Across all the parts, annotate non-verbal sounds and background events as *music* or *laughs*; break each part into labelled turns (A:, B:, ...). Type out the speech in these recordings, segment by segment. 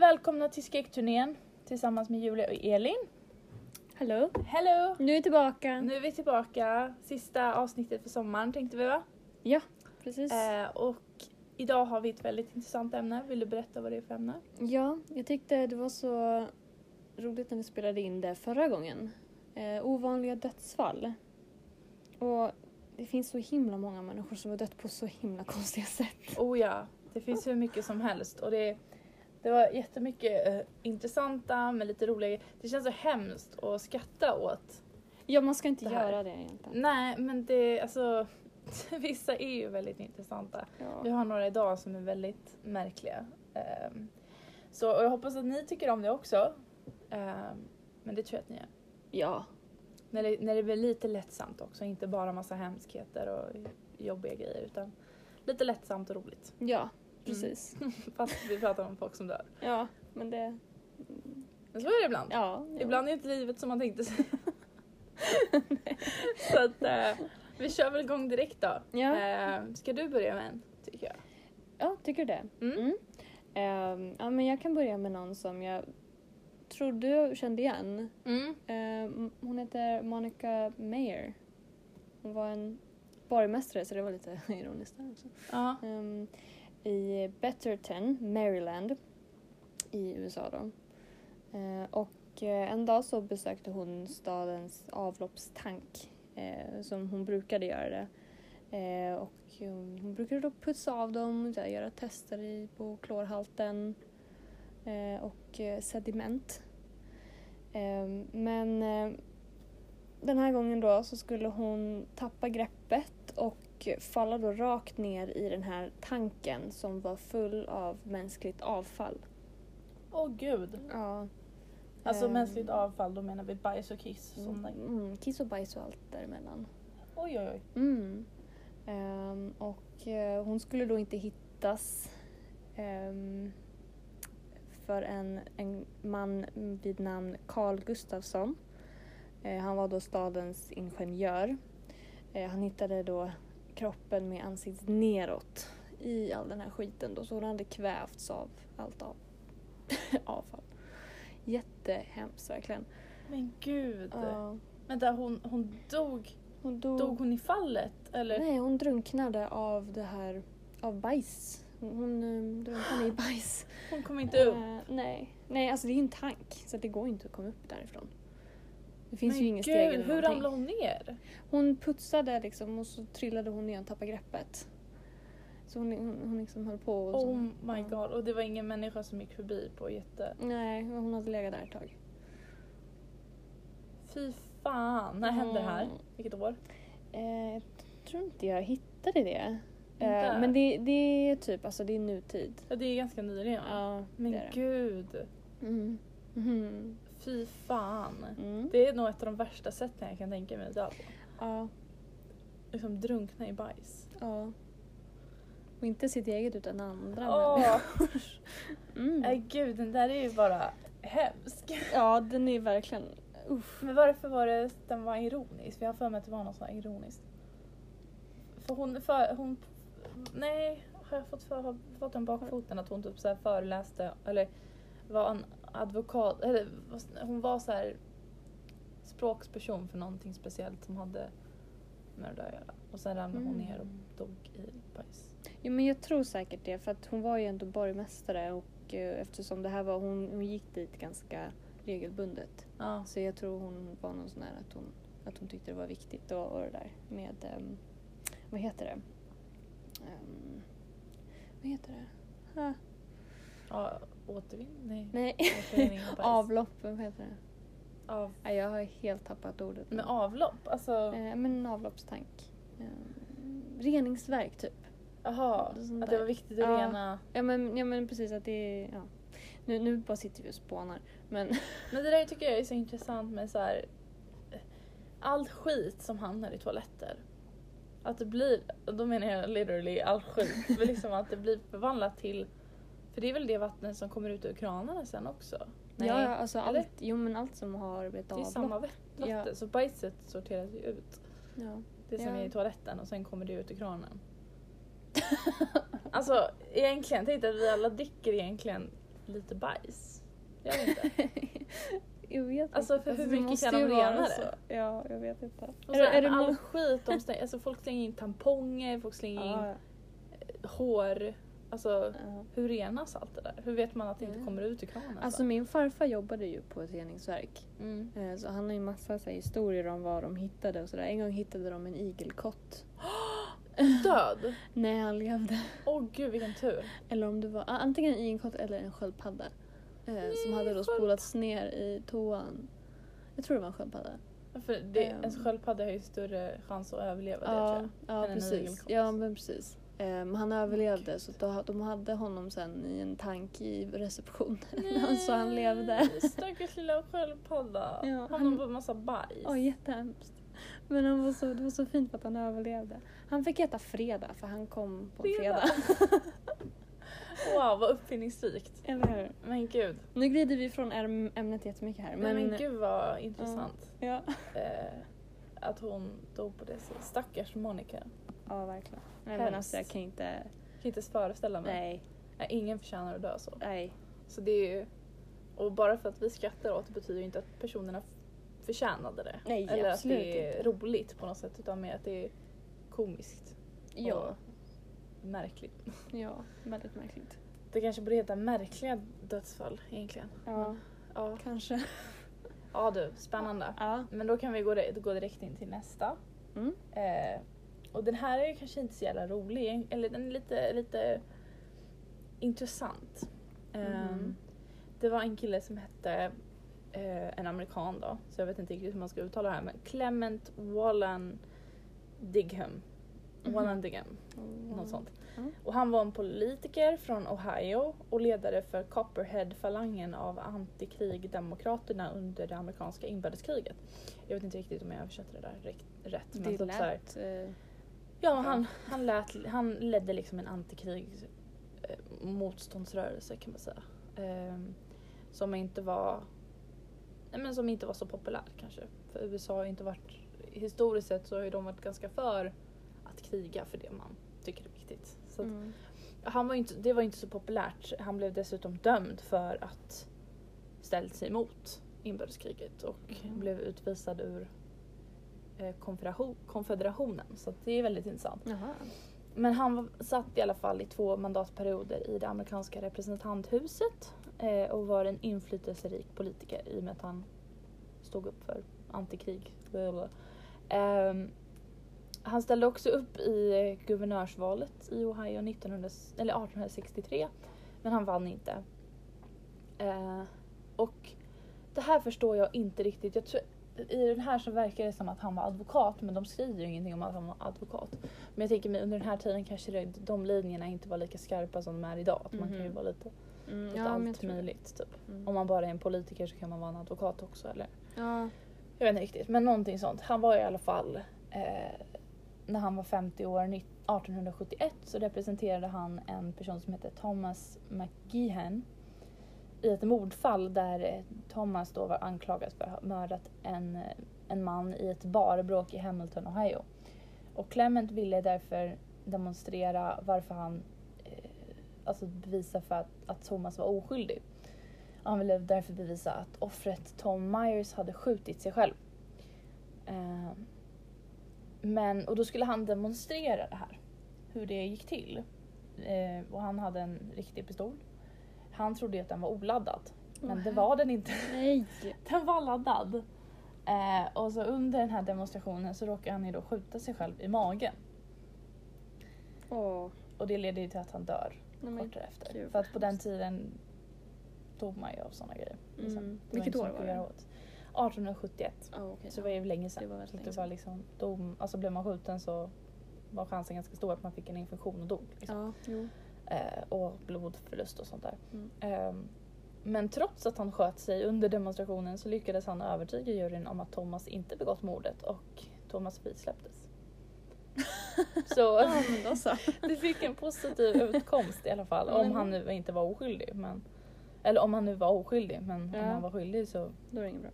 A: välkomna till skräckturnén tillsammans med Julia och Elin.
B: Hallå!
A: Hello!
B: Nu är vi tillbaka.
A: Nu är vi tillbaka, sista avsnittet för sommaren tänkte vi va?
B: Precis.
A: Eh, och idag har vi ett väldigt intressant ämne. Vill du berätta vad det är för ämne?
B: Ja, jag tyckte det var så roligt när vi spelade in det förra gången. Eh, ovanliga dödsfall. Och det finns så himla många människor som har dött på så himla konstiga sätt.
A: Oh ja, det finns hur mycket som helst och det, det var jättemycket eh, intressanta men lite roliga Det känns så hemskt att skratta åt.
B: Ja, man ska inte
A: Det här.
B: göra det Mm. egentligen.
A: Nej men det, alltså *laughs* vissa är ju väldigt intressanta. Vi
B: Ja.
A: har några idag som är väldigt märkliga. Ehm, så och jag hoppas att ni tycker om det också. Ehm, men det tror jag att ni gör.
B: ja.
A: När det, när det blir lite lättsamt också, inte bara massa hemskheter och jobbiga grejer utan lite lättsamt och roligt. *laughs*
B: Ja, precis. *laughs*
A: Fast vi pratar om folk som dör.
B: Ja, men det... mm,
A: Men så är det ibland.
B: Ja. jo.
A: Ibland är inte livet som man tänkte
B: *laughs*
A: sig. så att eh, vi kör väl igång direkt då.
B: Ja.
A: Eh, ska du börja med en, tycker jag.
B: Ja, tycker du det?
A: Mm.
B: Ehm, ja, men jag kan börja med någon som jag trodde jag kände igen. Ehm, hon heter Monica Mayer. Hon var en borgmästare, så det var lite *laughs* ironiskt där också.
A: Ja.
B: Ehm, I Betterton, Maryland i USA då. Ehm, och eh, en dag så besökte hon stadens avloppstank eh, som hon brukade göra det. Eh, och eh, hon brukade då putsa av dem, så här, göra tester i, på klorhalten eh, och eh, sediment. Eh, men eh, den här gången då så skulle hon tappa greppet och falla då rakt ner i den här tanken som var full av mänskligt avfall.
A: Åh gud.
B: Ja.
A: Alltså
B: Ehm.
A: mänskligt avfall, då menar vi bajs och kiss. och Sådana.
B: Mm, kiss och bajs och allt däremellan.
A: Oj oj oj.
B: Mm. Ehm, och eh, hon skulle då inte hittas um, för en, en man vid namn Carl Gustafsson. Eh, han var då stadens ingenjör. Eh, han hittade då kroppen med ansiktet neråt i all den här skiten då, så hon hade kvävts av allt av *laughs* avfall. Jättehemskt verkligen.
A: Men gud.
B: Ja.
A: Vänta, hon, hon dog.
B: hon dog,
A: Dog hon i fallet? Eller?
B: Nej, hon drunknade av det här, av bajs. Hon eh, *gasps* drunknade i bajs.
A: Hon kom inte upp.
B: Eh, nej. nej, alltså det är ju en tank så det går ju inte att komma upp därifrån. Det finns
A: Men
B: ju ingen
A: gud,
B: steg eller
A: Hur
B: någonting.
A: ramlade hon ner?
B: Hon putsade liksom och så trillade hon ner och tappade greppet. Så hon, hon, hon liksom höll på och så.
A: Oh my
B: Ja. Mm.
A: god. Och det var ingen människa som gick förbi på jätte...
B: Nej, hon hade legat där ett tag.
A: Fy fan. När hände det här?
B: Mm.
A: Vilket år?
B: Eh, jag tror inte jag hittade det.
A: Inte?
B: Eh, men det, det är typ, alltså det är nutid.
A: Ja, det är ganska nyligen.
B: Ja,
A: Men
B: det är det.
A: gud.
B: Mm. Mhm.
A: Fy fan.
B: Mm.
A: Det är nog ett av de värsta sätten jag kan tänka mig. Att
B: Ja.
A: liksom drunkna i bajs.
B: Ja. Och inte sitt eget utan andra
A: Åh,
B: *laughs*
A: *laughs*
B: Mm.
A: nej gud den där är ju bara hemsk.
B: Ja, den är verkligen... Uff.
A: Men varför var det den var ironisk? För jag har för mig att det var något sånt här ironiskt. För hon, för, hon... Nej, har jag fått, för, har fått den bakfoten att hon typ så här föreläste eller var en advokat, eller vad- hon var så här språksperson för någonting speciellt som hade med det där att göra. Och sen ramlade hon
B: Mm.
A: ner och dog i bajs.
B: Jo, men jag tror säkert det för att hon var ju ändå borgmästare och eh, eftersom det här var hon, hon gick dit ganska regelbundet.
A: Ja.
B: Så jag tror hon var någon sån här att hon, att hon tyckte det var viktigt och, och det där med... ehm, vad heter det? Ehm, vad heter det? Ha.
A: ja återvinning? Nej.
B: Nej.
A: Återvinning av bajs.
B: *laughs* Avlopp, vad heter det?
A: Av,
B: Ja, jag har helt tappat ordet. nu.
A: med avlopp? Alltså,
B: Eh, men en avloppstank. Eh, reningsverk typ.
A: jaha.
B: det är sånt
A: Att det
B: där.
A: var viktigt att
B: Ja.
A: rena.
B: Ja men, ja, men precis att det är... Ja. Nu, nu bara sitter vi och spånar. Men
A: Men det där tycker jag är så intressant med så här all skit som hamnar i toaletter. Att det blir, och då menar jag literally all
B: *laughs*
A: skit, men liksom att det blir förvandlat till, för det är väl det vattnet som kommer ut ur kranarna sen också?
B: *laughs* ja, ja, alltså
A: eller?
B: allt, jo, men allt som har ett
A: det är
B: avlopp.
A: samma vatten,
B: Ja.
A: så bajset sorteras ju ut.
B: Ja.
A: Det som
B: Ja.
A: är i toaletten och sen kommer det ut ur
B: *laughs*
A: Alltså, kranen. alltså egentligen, tänk dig att vi alla dricker egentligen lite bajs? Jag vet inte.
B: *laughs* Jag vet inte.
A: Alltså, för hur mycket
B: måste
A: kan de
B: ju vara
A: rena det?
B: så. Ja, jag vet inte.
A: Och sen är
B: det
A: all
B: någon-
A: skit de slänger, alltså folk slänger in tamponger, folk slänger in
B: Ja,
A: hår. Alltså
B: ja.
A: hur renas allt det där? Hur vet man att det inte
B: Mm.
A: kommer ut ur kranen?
B: Alltså
A: sen?
B: min farfar jobbade ju på ett reningsverk.
A: mm.
B: Eh, Så han har ju massa så här, historier om vad de hittade och sådär. En gång hittade de en igelkott.
A: Död!
B: Nej, han levde.
A: Åh gud vilken tur.
B: Eller om det var ah, antingen en igelkott eller en sköldpadda. Eh,
A: Mm,
B: som hade då
A: sköld-
B: spolats ner i toan. Jag tror det var en sköldpadda.
A: För det,
B: Ehm.
A: en sköldpadda har ju större chans att överleva det tror
B: Ja,
A: jag.
B: ja
A: Än en
B: precis.
A: igelkott.
B: Ja, men precis. Eh, men han överlevde så då, de hade honom sen i en tank i receptionen. *laughs* Han så Alltså, han levde.
A: Nej,
B: *laughs*
A: Stackars lilla sköldpadda.
B: Ja,
A: han
B: han-
A: har bara massa bajs.
B: Ja, jättehemskt. Men han var så, det var så fint att han överlevde. Han fick heta Fredag för han kom på en
A: Fredag.
B: fredag. *laughs*
A: Wow vad uppfinningsrikt.
B: Eller hur?
A: Men gud.
B: Nu glider vi från äm- ämnet jättemycket här.
A: Men,
B: Men,
A: men gud vad intressant.
B: Ja.
A: Eh, att hon dog på det sättet. Stackars Monica.
B: ja, verkligen. Nej,
A: Hemskt.
B: men alltså jag kan inte.
A: Jag kan inte ens föreställa mig.
B: Nej,
A: Nej, Ingen förtjänar att dö så.
B: nej.
A: Så det är ju... Och bara för att vi skrattar åt det betyder ju inte att personerna f- förtjänade det.
B: Nej,
A: Eller att
B: absolut
A: det är
B: inte.
A: roligt på något sätt utan mer att det är komiskt.
B: Ja,
A: Märkligt.
B: ja, väldigt märkligt.
A: Det kanske borde heta märkliga dödsfall egentligen.
B: Ja,
A: Ja,
B: kanske.
A: ja du, spännande.
B: Ja.
A: Men då kan vi gå, di- gå direkt in till nästa.
B: Mm.
A: Eh, och den här är ju kanske inte så jävla rolig, eller den är lite, lite intressant. Eh,
B: Mhm.
A: Det var en kille som hette, eh, en amerikan då, så jag vet inte riktigt hur man ska uttala det här, men Clement Wallen Digham.
B: Mhm.
A: Wallen Digham, något sånt.
B: Mm.
A: Och han var en politiker från Ohio och ledare för Copperhead-falangen av antikrigdemokraterna under det amerikanska inbördeskriget. Jag vet inte riktigt om jag översätter det där rikt- rätt. men
B: Det
A: typ så här-
B: lät... eh,
A: Ja, han, han, lät, han ledde liksom en antikrig eh, motståndsrörelse kan man säga. Ehm, som inte var nej, men som inte var så populär kanske. För USA har ju inte varit, historiskt sett så har ju de varit ganska för att kriga för det man tycker är viktigt. Så att,
B: mm.
A: han var ju inte, det var ju inte så populärt. Han blev dessutom dömd för att ställt sig emot inbördeskriget och
B: Mhm.
A: blev utvisad ur eh, konfederation, konfederationen. Så att det är väldigt intressant.
B: Jaha.
A: Men han var- satt i alla fall i två mandatperioder i det amerikanska representanthuset eh, och var en inflytelserik politiker i och med att han stod upp för antikrig. blablabla. Ehm, han ställde också upp i eh, guvernörsvalet i Ohio 1900, eller 1863 men han vann inte. Eh, och det här förstår jag inte riktigt. Jag tror, I den här så verkar det som att han var advokat men de skriver ju ingenting om att han var advokat. Men jag tänker mig under den här tiden kanske det, de linjerna inte var lika skarpa som de är idag. Att Man kan ju
B: Mhm.
A: vara lite
B: Mm,
A: åt
B: ja, men jag
A: allt
B: tror det.
A: möjligt. Typ.
B: Mm.
A: Om man bara är en politiker så kan man vara en advokat också. Eller?
B: Ja.
A: Jag vet inte riktigt men någonting sånt. Han var i alla fall eh, när han var 50 år nitt- 1871 så representerade han en person som hette Thomas McGeehan i ett mordfall där eh, Thomas då var anklagad för att ha mördat en, eh, en man i ett barbråk i Hamilton, Ohio. Och Clement ville därför demonstrera varför han, eh, alltså bevisa för att, att Thomas var oskyldig. Han ville därför bevisa att offret Tom Myers hade skjutit sig själv. Eh, men, och då skulle han demonstrera det här, hur det gick till. Eh, och han hade en riktig pistol. Han trodde ju att den var oladdad, men det var den inte.
B: Nej!
A: Den var laddad. Eh, och så under den här demonstrationen så råkade han ju då skjuta sig själv i magen.
B: Åh.
A: Och det leder ju till att han dör
B: Nej, men
A: kort därefter.
B: gud,
A: För
B: vad
A: att på den
B: hemskt.
A: tiden dog man ju av sådana grejer. liksom.
B: Mm.
A: Det
B: Vilket
A: inte så
B: år
A: mycket
B: var
A: att göra
B: det?
A: åt. 1871.
B: Ja, okej.
A: Så det var ju länge sedan.
B: Det var väldigt
A: så att
B: länge
A: det var
B: sedan.
A: liksom, dom, alltså blev man skjuten så var chansen ganska stor att man fick en infektion och dog. Liksom.
B: Ja, jo.
A: Eh, och blodförlust och sånt där. *laughs*
B: Mm.
A: Ehm, men trots att han sköt sig under demonstrationen så lyckades han övertyga juryn om att Thomas inte begått mordet och Thomas frisläpptes. Så
B: Ja, men
A: *laughs*
B: då så.
A: det fick en
B: *laughs*
A: positiv utkomst i alla fall. Om
B: Men-
A: han nu inte var oskyldig. Men, eller om han nu var oskyldig men
B: Ja.
A: om han var skyldig så...
B: Då är det inget bra.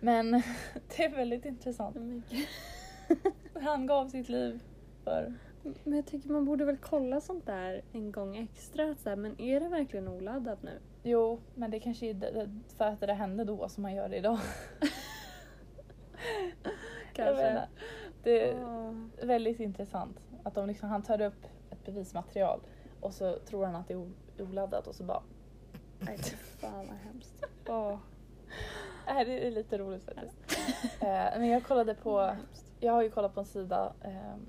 A: Men *laughs* det är väldigt intressant. Han gav sitt liv för
B: Men jag tycker man borde väl kolla sånt där en gång extra. att Så här, men är det verkligen oladdat nu?
A: Jo, men det kanske är d- d- för att det där hände då som man gör det
B: *laughs*
A: idag. Jag menar, det är
B: Ja.
A: väldigt intressant att de liksom, han tar upp ett bevismaterial och så tror han att det är o- oladdat och så bara...
B: Nej, fy fan vad hemskt.
A: Ah.
B: Åh.
A: Nej, "Äh, det är lite roligt faktiskt. Eh, men jag kollade på... Jag har ju kollat på en sida ehm,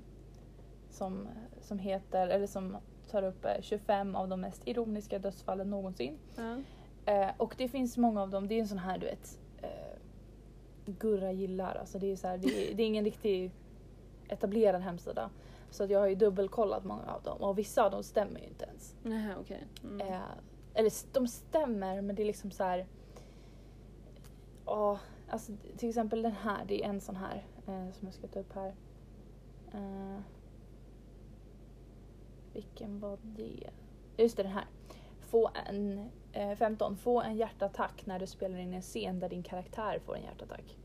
A: som, som heter, eller som tar upp eh, 25 av de mest ironiska dödsfallen någonsin.
B: Ja.
A: Eh, och det finns många av dem, det är en sån här du vet, eh, Gurra gillar. Alltså det är så här, det, är, det är ingen riktig etablerad hemsida. Så att jag har ju dubbelkollat många av dem och vissa av dem stämmer ju inte ens.
B: Nähä, okej. Mm.
A: Eh, eller s- de stämmer men det är liksom så här. Ja, alltså till exempel den här, det är en sån här eh, som jag ska ta upp här. Eh, vilken var det? Just det, den här. Få en, eh, 15. Få en hjärtattack när du spelar in en scen där din karaktär får en hjärtattack.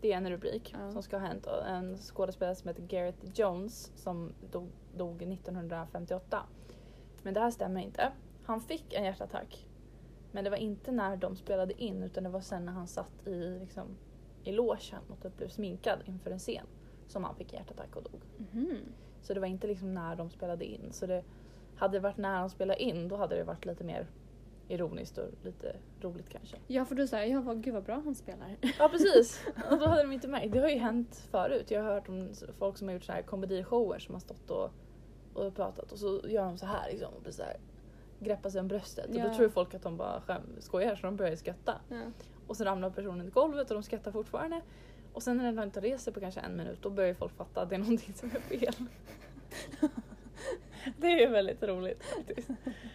A: Det är en rubrik
B: Ja.
A: som ska ha hänt. Och En skådespelare som heter Gareth Jones som dog, dog 1958. Men det här stämmer inte. Han fick en hjärtattack. Men det var inte när de spelade in utan det var sen när han satt i, liksom, i logen och typ blev sminkad inför en scen som han fick en hjärtattack och dog.
B: Mhm.
A: Så det var inte liksom när de spelade in. Så det hade det varit när de spelade in då hade det varit lite mer ironiskt och lite roligt kanske.
B: Ja, för du sa jag var gud vad bra han spelar.
A: Ja
B: *laughs*
A: precis! Och då hade de inte märkt. Det har ju hänt förut. Jag har hört om folk som har gjort så här komedishower som har stått och, och pratat och så gör de så här liksom och blir så här, greppar sig om bröstet och
B: Ja.
A: då tror folk att de bara skäm, skojar så de börjar ju skratta.
B: Ja.
A: Och så ramlar personen i golvet och de skrattar fortfarande. Och sen när den inte reser på kanske en minut då börjar ju folk fatta att det är någonting som är
B: *laughs*
A: fel. Det är ju väldigt roligt faktiskt.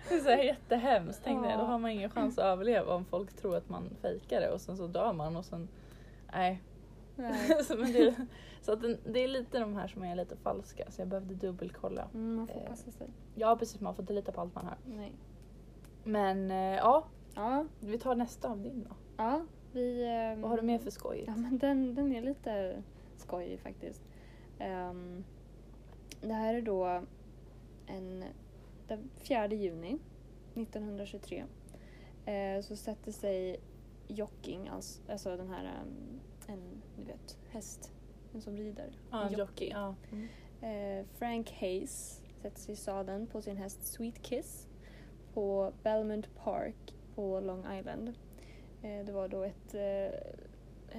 A: Det är så här jättehemskt. Tänk dig, då har man ingen chans att överleva om folk tror att man fejkar det och sen så dör man och sen... Nej. *laughs*
B: Nej.
A: så men det, så att den, det är lite de här som är lite falska så jag behövde dubbelkolla.
B: Mm, man får
A: Eh.
B: passa sig.
A: Ja precis, man får inte lita på allt man hör.
B: Nej.
A: Men eh, ja,
B: Ja,
A: vi tar nästa av din då.
B: ja vi... ehm,
A: Vad har du mer för skojigt?
B: Ja, men den, den är lite skojig faktiskt. Ehm, det här är då en, den 4 juni 1923. eh, så sätter sig Jocking, alltså, alltså den här, ehm, en, du vet, häst, en som rider.
A: Ja, en
B: Jockey.
A: jockey. Ja. Mm.
B: Eh, Frank Hayes sätter sig i sadeln på sin häst Sweet Kiss på Belmont Park på Long Island. Eh, det var då ett, eh,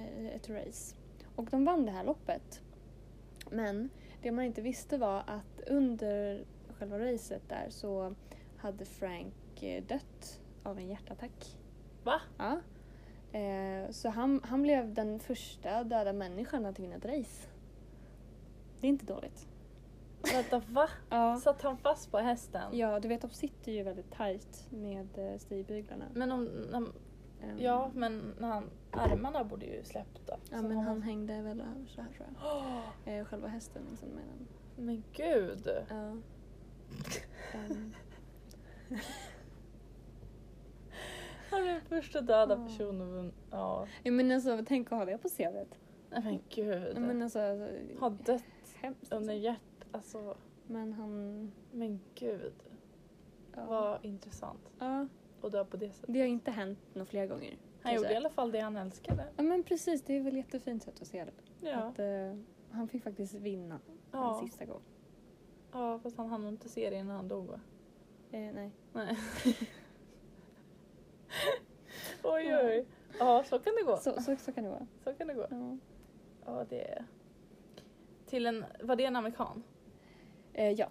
B: eh, ett race. Och de vann det här loppet. Men det man inte visste var att under själva racet där så hade Frank eh, dött av en hjärtattack.
A: Va?
B: Ja. Eh, så han, han blev den första döda människan att vinna ett race. Det är inte dåligt.
A: Vänta, va?
B: Ja.
A: Satt han fast på hästen?
B: ja, du vet de sitter ju väldigt tajt med eh, stigbyglarna.
A: Men om, om,
B: Ehm,
A: ja, men när han, armarna borde ju släppt då.
B: ja,
A: Så
B: men
A: har
B: han
A: man-
B: hängde väl över så här tror jag.
A: Åh,
B: Eh, själva hästen liksom med den.
A: *gasps* men gud!
B: Ja. Ehm,
A: Han är den första döda
B: Ja.
A: personen. Ja.
B: ja, men alltså tänk att ha det på CVt.
A: Nej men gud.
B: Ja, men alltså, alltså,
A: Har dött
B: hemskt.
A: under
B: Alltså.
A: hjärt... Alltså,
B: Men han...
A: men gud.
B: Ja.
A: Vad intressant.
B: ja,
A: Att dö på det sättet.
B: det har inte hänt några fler gånger.
A: Han
B: jag
A: gjorde i
B: säga.
A: alla fall det han älskade.
B: Ja men precis, det är väl jättefint sätt att se det.
A: Ja,
B: Att, eh, han fick faktiskt vinna
A: ja.
B: en sista gång.
A: ja fast han hann nog inte se det innan han dog va?
B: Eh, nej.
A: Nej. oj oj. Ja, så kan det gå.
B: Så, så, så kan det vara.
A: Så kan det gå.
B: Ja.
A: Ja, det är... Till en, var det en amerikan?
B: Eh, ja.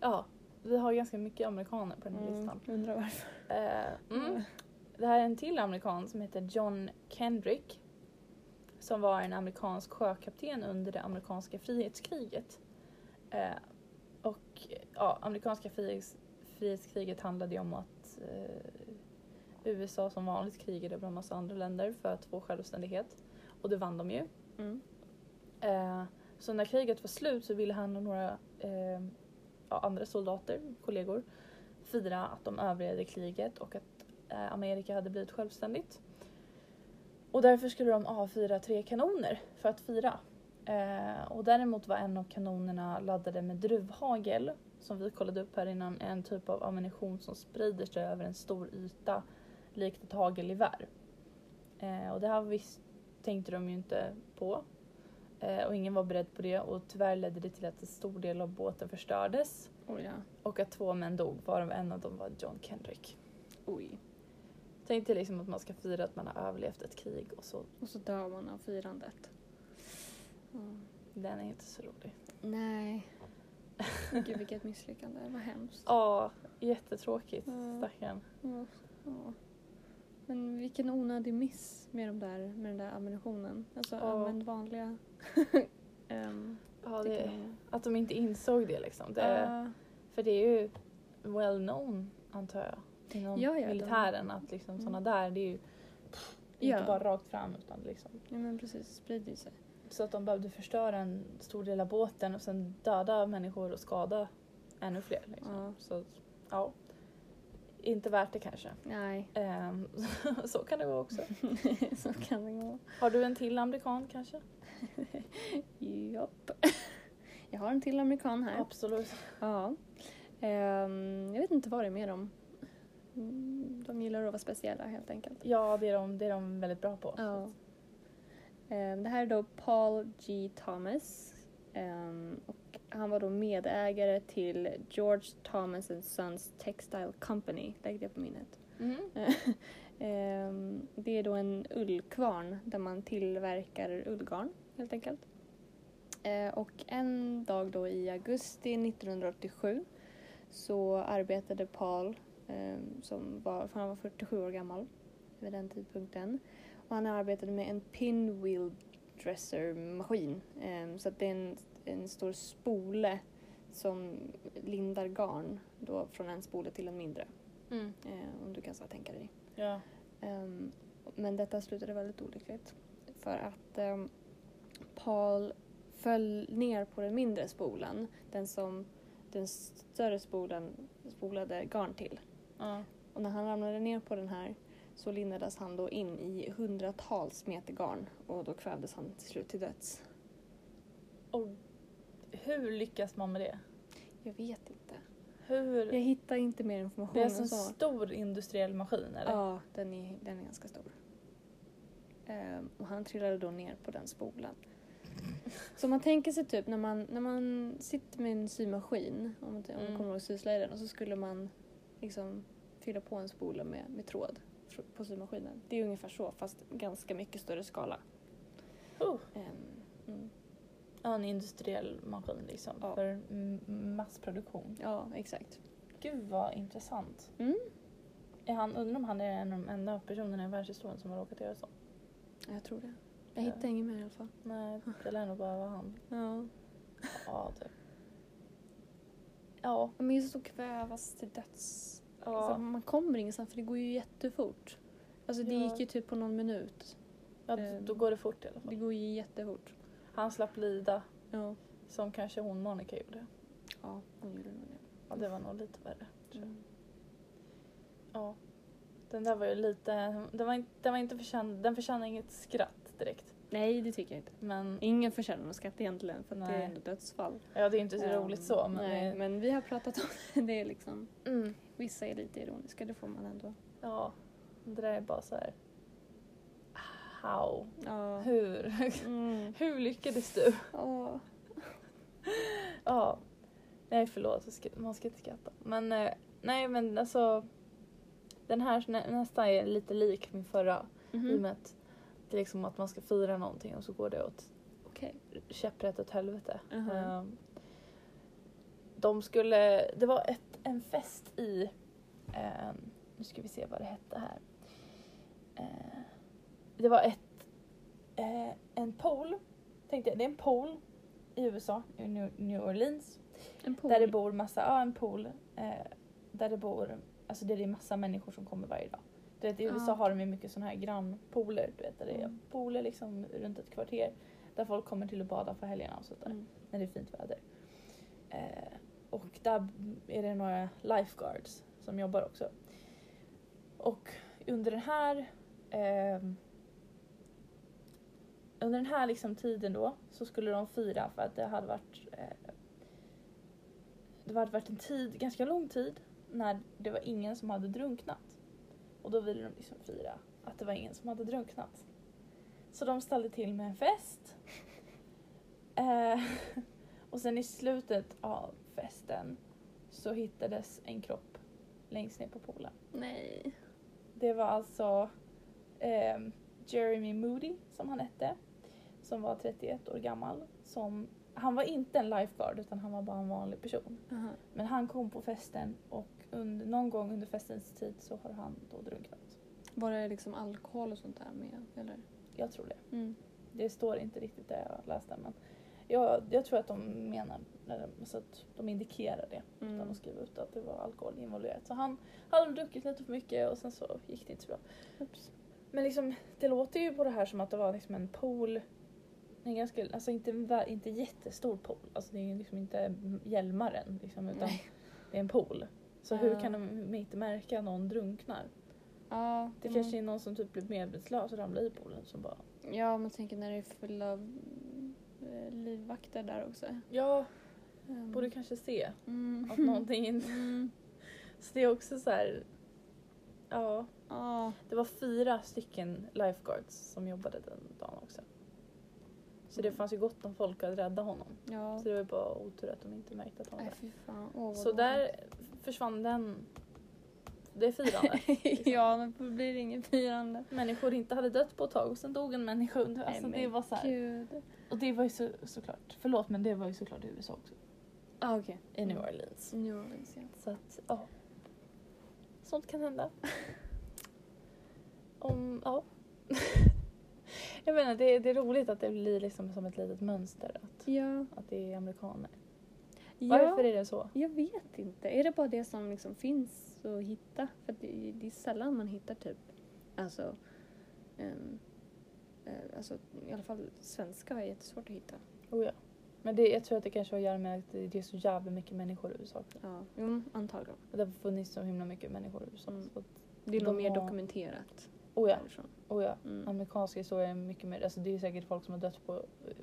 A: Ja, vi har ganska mycket amerikaner på den här
B: Mm,
A: listan.
B: undrar varför.
A: Eh, mm. Det här är en till amerikan som heter John Kendrick. Som var en amerikansk sjökapten under det amerikanska frihetskriget. Eh, och ja, amerikanska frihets, frihetskriget handlade ju om att eh, USA som vanligt krigade bland massa andra länder för att få självständighet. Och det vann de ju.
B: Mm.
A: Eh, så när kriget var slut så ville han och några eh, ja, andra soldater, kollegor, fira att de överlevde kriget och att eh, Amerika hade blivit självständigt. Och därför skulle de avfyra tre kanoner för att fira. Eh, Eh, och däremot var en av kanonerna laddade med druvhagel, som vi kollade upp här innan, en typ av ammunition som sprider sig över en stor yta likt ett hagelgevär. Eh, och det här visst, tänkte de ju inte på. Eh, och ingen var beredd på det och tyvärr ledde det till att en stor del av båten förstördes
B: Oj, ja.
A: och att två män dog, varav en av dem var John Kendrick.
B: Oj.
A: Tänk dig liksom att man ska fira att man har överlevt ett krig och så,
B: Och så dör man av firandet. Ja.
A: den är inte så rolig.
B: Nej. Gud vilket misslyckande, vad hemskt.
A: Ja, jättetråkigt
B: Ja.
A: stackarn.
B: Ja, ja. Men vilken onödig miss med, de där, med den där ammunitionen. Alltså
A: Ja.
B: använd vanliga. *laughs* um,
A: Ja, det, att de inte insåg det liksom. Det, För det är ju well known antar jag inom
B: Ja, ja, de-
A: militären att liksom
B: Mm.
A: sådana där det är ju
B: Ja.
A: inte bara rakt fram utan liksom
B: ja men precis, det sprider ju sig.
A: så att de behövde förstöra en stor del av båten och sen döda människor och skada ännu fler. Liksom.
B: Ja.
A: Så ja, inte värt det kanske.
B: Nej,
A: Ehm, *laughs* så kan det gå också.
B: *laughs* så kan det gå.
A: Har du en till amerikan kanske?
B: Japp. *laughs* Jag har en till amerikan här.
A: Absolut.
B: Ja. Ehm, jag vet inte vad det är med dem. Mm, De gillar att vara speciella helt enkelt.
A: Ja, det är de, det är de väldigt bra på.
B: Ja. Ehm, Det här är då Paul G. Thomas. Ehm, Och han var då medägare till George Thomas and Sons Textile Company. Lägg det på minnet.
A: Mm.
B: *laughs* Ehm, Det är då en ullkvarn där man tillverkar ullgarn helt enkelt. Eh, Och en dag då i augusti 1987 så arbetade Paul, ehm, som var, för han var 47 år gammal vid den tidpunkten, och han arbetade med en pinwheel dresser-maskin. Ehm, Så att det är en, en stor spole som lindar garn då från en spole till en mindre.
A: Mm.
B: Eh, Om du kan så tänka dig.
A: Ja.
B: Ehm, men detta slutade väldigt olyckligt. För att ehm, Paul föll ner på den mindre spolen. Den som den större spolen spolade garn till.
A: ja.
B: Och när han ramlade ner på den här så lindades han då in i hundratals meter garn och då kvävdes han till slut till döds.
A: Och hur lyckas man med det?
B: Jag vet inte.
A: Hur?
B: Jag hittar inte mer information
A: Det är alltså en
B: än
A: sån
B: så.
A: stor industriell maskin eller?
B: Ja, den är, den är ganska stor. Ehm, och han trillade då ner på den spolen. Så man tänker sig typ när man, när man sitter med en symaskin, om man, om man
A: Mm.
B: kommer ihåg syslöjden, och så skulle man liksom fylla på en spole med, med tråd fr- på symaskinen. Det är ungefär så, fast ganska mycket större skala.
A: Oh,
B: Ehm, mm.
A: ja, en industriell maskin liksom
B: Ja.
A: för m- massproduktion.
B: Ja, exakt.
A: Gud vad intressant.
B: Mm.
A: Är han, undrar om han är en av de enda personerna i världshistorien som har råkat göra så.
B: Ja, Jag tror det. Jag
A: Ja.
B: hittar inget mer i alla fall.
A: Nej, det lär nog bara vara han.
B: Ehm. Ja.
A: Ja, du. Ja.
B: Men just att kvävas till döds Alltså,
A: Ja,
B: man kommer ingenstans för det går ju jättefort. Alltså det
A: Ja.
B: gick ju typ på någon minut.
A: ja d- då går det fort i alla
B: Det
A: fall.
B: går ju jättefort.
A: Han slapp lida
B: Ja.
A: som kanske hon Monica gjorde.
B: Ja, hon gjorde nog
A: Ja, det var nog lite värre.
B: det. Mm.
A: Ja. Den där var ju lite, den var, inte- den var inte förtjän, den förtjänar inget skratt direkt.
B: Nej, det tycker jag inte.
A: Men
B: Ingen förtjänar någon skatt egentligen för att det
A: Nej.
B: är ändå dödsfall.
A: Ja, det är inte så
B: Ehm,
A: roligt så. Men
B: nej,
A: det,
B: men vi har pratat om *laughs* det. det är liksom,
A: Mm,
B: vissa är lite ironiska, det får man ändå.
A: ja, det där är bara så här... How?
B: Ja.
A: Hur? *laughs*
B: Mm.
A: Hur lyckades du?
B: Åh.
A: Ja. Nej, förlåt. jag ska- Man ska inte skratta. Men eh, nej, men alltså. Den här nä, nästan är lite lik min förra. I och med
B: Mhm.
A: att det är liksom att man ska fira någonting och så går det åt
B: Okej.
A: käpprätt åt helvete.
B: Mhm.
A: Ehm, de skulle, det var ett, en fest i, ehm, nu ska vi se vad det hette här. Eh, det var ett, eh, en pool, tänkte jag, det är en pool i USA, i New, New Orleans.
B: En pool.
A: Där det bor massa, ja en pool. Eh, där det bor, alltså där det är massa människor som kommer varje dag. Du vet i
B: Ja.
A: USA har de ju mycket sådana här grannpooler, du vet där det är
B: Mm.
A: pooler liksom runt ett kvarter. Där folk kommer till att bada på helgerna och sånt där.
B: Mm.
A: När det är fint väder. Eh, och där är det några lifeguards som jobbar också. Och under den här ehm, under den här liksom tiden då så skulle de fira för att det hade varit eh, det hade varit en tid, ganska lång tid när det var ingen som hade drunknat. Och då ville de liksom fira att det var ingen som hade drunknat. Så de ställde till med en fest. Eh, och sen i slutet av festen så hittades en kropp längst ner på poolen.
B: Nej.
A: Det var alltså ehm, Jeremy Moody som han hette. Som var 31 år gammal. Som, han var inte en lifeguard utan han var bara en vanlig person. Men han kom på festen och under, någon gång under festens tid så har han då drunknat.
B: Var det liksom alkohol och sånt där med? Eller?
A: Jag tror det.
B: Mm.
A: Det står inte riktigt det jag läste men jag, jag tror att de menar, eller, så att de indikerar det. utan
B: Mm.
A: att skriva ut att det var alkohol involverat. Så han hade druckit lite för mycket och sen så gick det inte så bra.
B: Oops.
A: Men liksom, det låter ju på det här som att det var liksom en pool. En ganska, alltså inte, en vä- inte jättestor pool. Alltså det är ju liksom inte Hjälmaren liksom, utan
B: Nej.
A: det är en pool. Så hur
B: Ja.
A: kan de inte märka att någon drunknar?
B: Ja,
A: Det kanske är någon som typ blir medvetslös och ramlar i poolen som bara
B: Ja, man tänker när det är fulla eh, livvakter där också.
A: Ja,
B: Um,
A: borde kanske se
B: mm.
A: att någonting inte...
B: *laughs* Mm.
A: Så det är också så här... Ja,
B: Ja.
A: det var fyra stycken lifeguards som jobbade den dagen också. Så det fanns ju gott om folk att rädda honom.
B: ja.
A: Så det var bara otur att de inte märkte att han var
B: Nej,
A: där.
B: fy fan. Åh, vad
A: Så där försvann den... Det
B: *laughs*
A: liksom. firandet.
B: dåligt. ja, men då blir det inget firande.
A: Människor inte hade dött på ett tag och sen dog en människa under... Alltså
B: Nej,
A: det
B: men
A: var så här.
B: Gud.
A: Och det var ju så, såklart, förlåt men det var ju såklart i USA också.
B: Ah, okej.
A: I New
B: Mm.
A: Orleans.
B: New Orleans, ja.
A: Så att, ja. Sånt kan hända. *laughs* Om, ja. *laughs* Jag menar, det, det är roligt att det blir liksom som ett litet mönster att,
B: Ja.
A: att det är amerikaner.
B: ja.
A: Varför är det så?
B: Jag vet inte. Är det bara det som liksom finns att hitta? För att det, det är sällan man hittar typ, alltså, ehm, eh, alltså i alla fall svenska är jättesvårt att hitta.
A: Oh, ja. Men det, jag tror att det kanske har att göra med att det det är så jävla mycket människor i USA.
B: Ja, jo, antagligen.
A: Och Det har funnits så himla mycket människor i USA.
B: Mm.
A: Så att,
B: Det är
A: De
B: nog mer
A: har-
B: dokumenterat
A: oh ja,
B: därifrån.
A: oh ja.
B: Mm.
A: Amerikansk historia är mycket mer, alltså det är säkert folk som har dött på eh,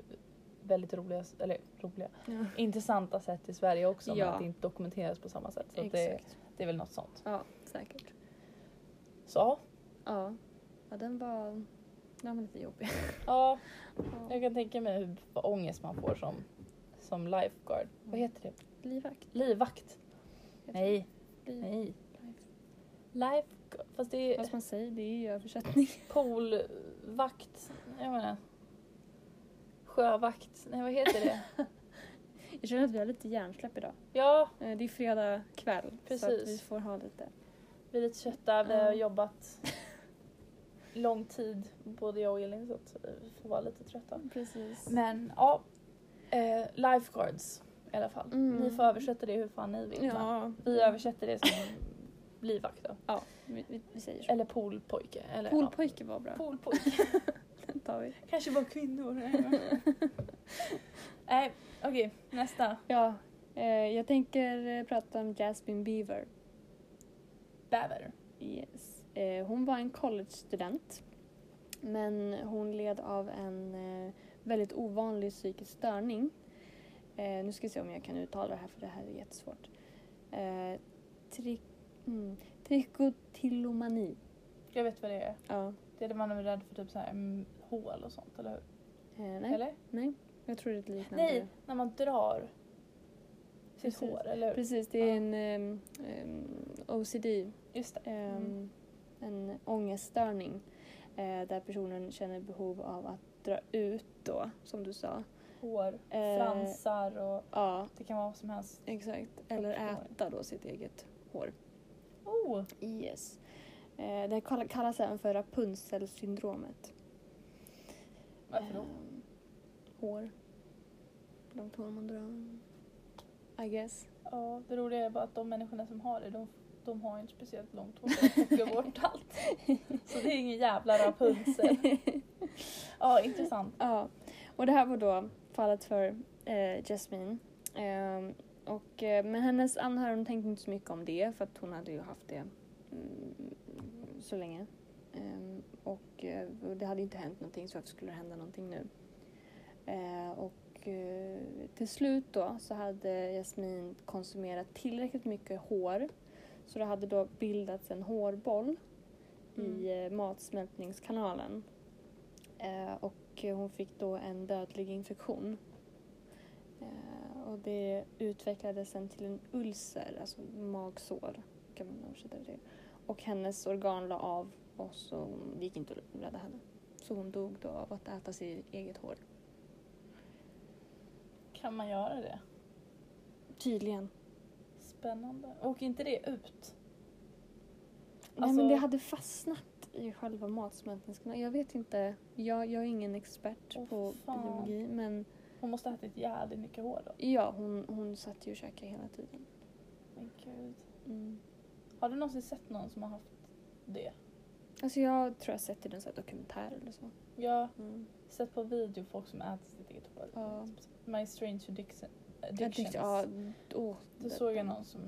A: väldigt roliga, eller roliga,
B: Ja.
A: intressanta sätt i Sverige också men
B: Ja.
A: att det inte dokumenteras på samma sätt. Så att det,
B: Exakt.
A: det är väl något sånt.
B: Ja, säkert.
A: Så ja.
B: Ja. ja, den var, den var lite jobbig.
A: ja,
B: Ja.
A: jag kan tänka mig hur- vad ångest man får som, som lifeguard. Vad heter det?
B: Livvakt.
A: Livvakt?
B: heter
A: Nej,
B: det. Liv.
A: nej.
B: Life.
A: Lifeguard, fast det är
B: Fast man säger, det är ju översättning. *laughs*
A: poolvakt. Jag menar. Sjövakt. Nej, vad heter
B: *laughs*
A: det?
B: Jag känner att vi har lite hjärnsläpp idag.
A: ja,
B: Eh, Det är fredag kväll. Så att
A: Precis.
B: vi får ha lite.
A: vi är lite trötta. Vi har
B: Ja. *laughs*
A: jobbat lång tid, både jag och Elin, så att vi får vara lite trötta.
B: Precis.
A: Men ja, eh, lifeguards i alla fall.
B: Mm.
A: Ni får översätta det hur fan ni vill. men
B: Ja,
A: Vi översätter det som livvakt då.
B: Ja, vi, vi, vi säger så.
A: Eller poolpojke. Eller,
B: Poolpojke var bra.
A: Ja. Poolpojke.
B: *laughs* Den tar vi.
A: Kanske bara kvinnor. *laughs* Nej, okej. nästa.
B: Ja, eh, jag tänker eh, prata om Jasmine Beaver.
A: Bäver.
B: Yes. Eh, hon var en college-student. Men hon led av en eh, väldigt ovanlig psykisk störning. Eh, nu ska vi se om jag kan uttala det här för det här är jättesvårt. Eh, tri- mm, trikotillomani.
A: Jag vet vad det är.
B: Ja.
A: Det är det man är rädd för typ så här, mm, hål och sånt, eller hur?
B: Eh, nej,
A: Eller?
B: nej, jag tror det är ett liknande.
A: Nej, när man drar sitt
B: Precis.
A: hår, eller hur?
B: Precis, det är
A: Ja.
B: en ehm, ehm, OCD.
A: Just det.
B: ehm,
A: Mm.
B: En ångeststörning eh, där personen känner behov av att dra ut då, som du sa.
A: Hår,
B: Eh,
A: fransar och
B: Ja,
A: det kan vara vad som helst.
B: exakt. Eller
A: förstår.
B: äta då sitt eget hår.
A: Oh!
B: Yes. Eh, det kall- kallas även för Rapunzel-syndromet.
A: Varför då?
B: Ehm, hår. Långt hår man drar. I guess.
A: Ja, det roliga är bara att de människorna som har det, de, de har ju inte speciellt långt hår. De plockar
B: *laughs*
A: bort allt. Så det är ingen jävla Rapunzel. Ja, intressant.
B: Ja, och det här var då fallet för eh, Jasmine. Ehm, och, eh, men hennes anhöriga de tänkte inte så mycket om det för att hon hade ju haft det mm, så länge. Ehm, och och eh, det hade inte hänt någonting så varför skulle det hända någonting nu? Eh, och eh, till slut då så hade Jasmin konsumerat tillräckligt mycket hår så det hade då bildats en hårboll
A: Mm.
B: i eh, matsmältningskanalen. Eh, och eh, hon fick då en dödlig infektion. Eh, och det utvecklades sen till en ulcer, alltså magsår kan man översätta det till. Och hennes organ la av och så det gick inte att rädda henne. Så hon dog då av att äta sitt eget hår.
A: Kan man göra det?
B: Tydligen.
A: Spännande. Åker inte det ut?
B: Nej
A: Alltså-
B: men det hade fastnat i själva matsmältningskanalen. Jag vet inte, jag, jag är ingen expert
A: Åh,
B: på
A: fan.
B: biologi men
A: Hon måste ha ätit jävligt mycket hår då.
B: ja, hon, hon satt ju och käkade hela tiden.
A: Men gud.
B: Mm.
A: Har du någonsin sett någon som har haft det?
B: Alltså jag tror jag sett i den så här dokumentär eller så.
A: Jag har
B: Mm.
A: sett på video folk som äter sitt eget hår.
B: Ja.
A: My strange addiction.
B: Jag
A: addictions.
B: tyckte, ja, åh,
A: Då såg jag någon som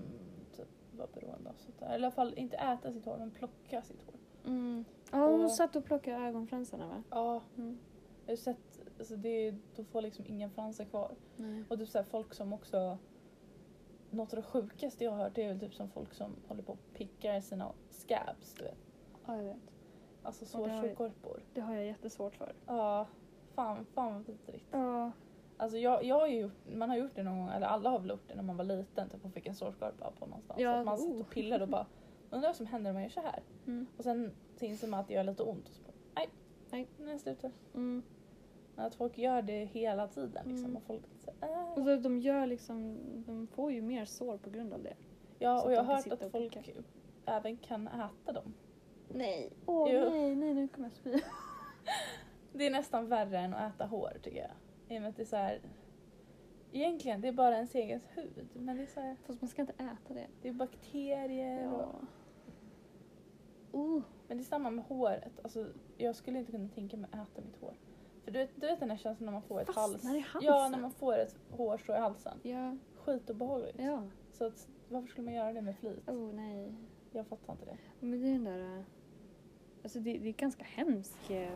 A: typ var beroende av sånt där. Eller i alla fall inte äta sitt hår men plocka sitt hår.
B: Mm. Ja, hon
A: Och-
B: satt och plockade ögonfransarna va?
A: Ja,
B: Mm.
A: jag har sett, alltså det, då får liksom ingen franser kvar.
B: Nej.
A: Och typ såhär folk som också, något av det sjukaste jag har hört det är väl typ som folk som håller på och pickar sina scabs du vet.
B: Ja, jag vet.
A: Alltså
B: Och det har-
A: sårskorpor.
B: Det har jag jättesvårt för.
A: Ja, fan, fan vad vidrigt.
B: Ja.
A: Alltså jag, jag har ju gjort, man har gjort det någon gång, eller alla har väl gjort det när man var liten, typ och fick en sårskorpa på någonstans.
B: Ja,
A: att man satt
B: oh.
A: och pillade och
B: *laughs*
A: bara, undrar vad som händer om jag gör så här?
B: Mm.
A: Och sen så inser man att det gör lite ont och så bara, nej,
B: Nej.
A: nu slutar
B: Mm.
A: Men att folk gör det hela tiden liksom
B: Mm.
A: och folk säger
B: Och
A: äh.
B: så de gör liksom, de får ju mer sår på grund av det.
A: Ja
B: så
A: och
B: att
A: jag
B: de
A: har
B: kan
A: hört
B: sitta
A: att
B: och
A: folk
B: picka.
A: även kan äta dem.
B: Nej. Åh
A: Jo.
B: nej, nej nu kommer jag spy.
A: Det är nästan värre än att äta hår tycker jag. I och med att det är så här, egentligen det är bara ens egen hud men det är så här,
B: Fast man ska inte äta det.
A: det är bakterier och
B: Oh.
A: Men det är samma med håret. Alltså, jag skulle inte kunna tänka mig att äta mitt hår. För du vet, du vet den här känslan när man får ett hals...
B: Fastnar i halsen?
A: Ja, när man får ett hårstrå i halsen.
B: Ja.
A: Skitobehagligt.
B: Ja.
A: Så att, varför skulle man göra det med flit?
B: Oh nej.
A: Jag fattar inte det.
B: Men det är den där, eh, alltså det, det är ganska hemsk eh,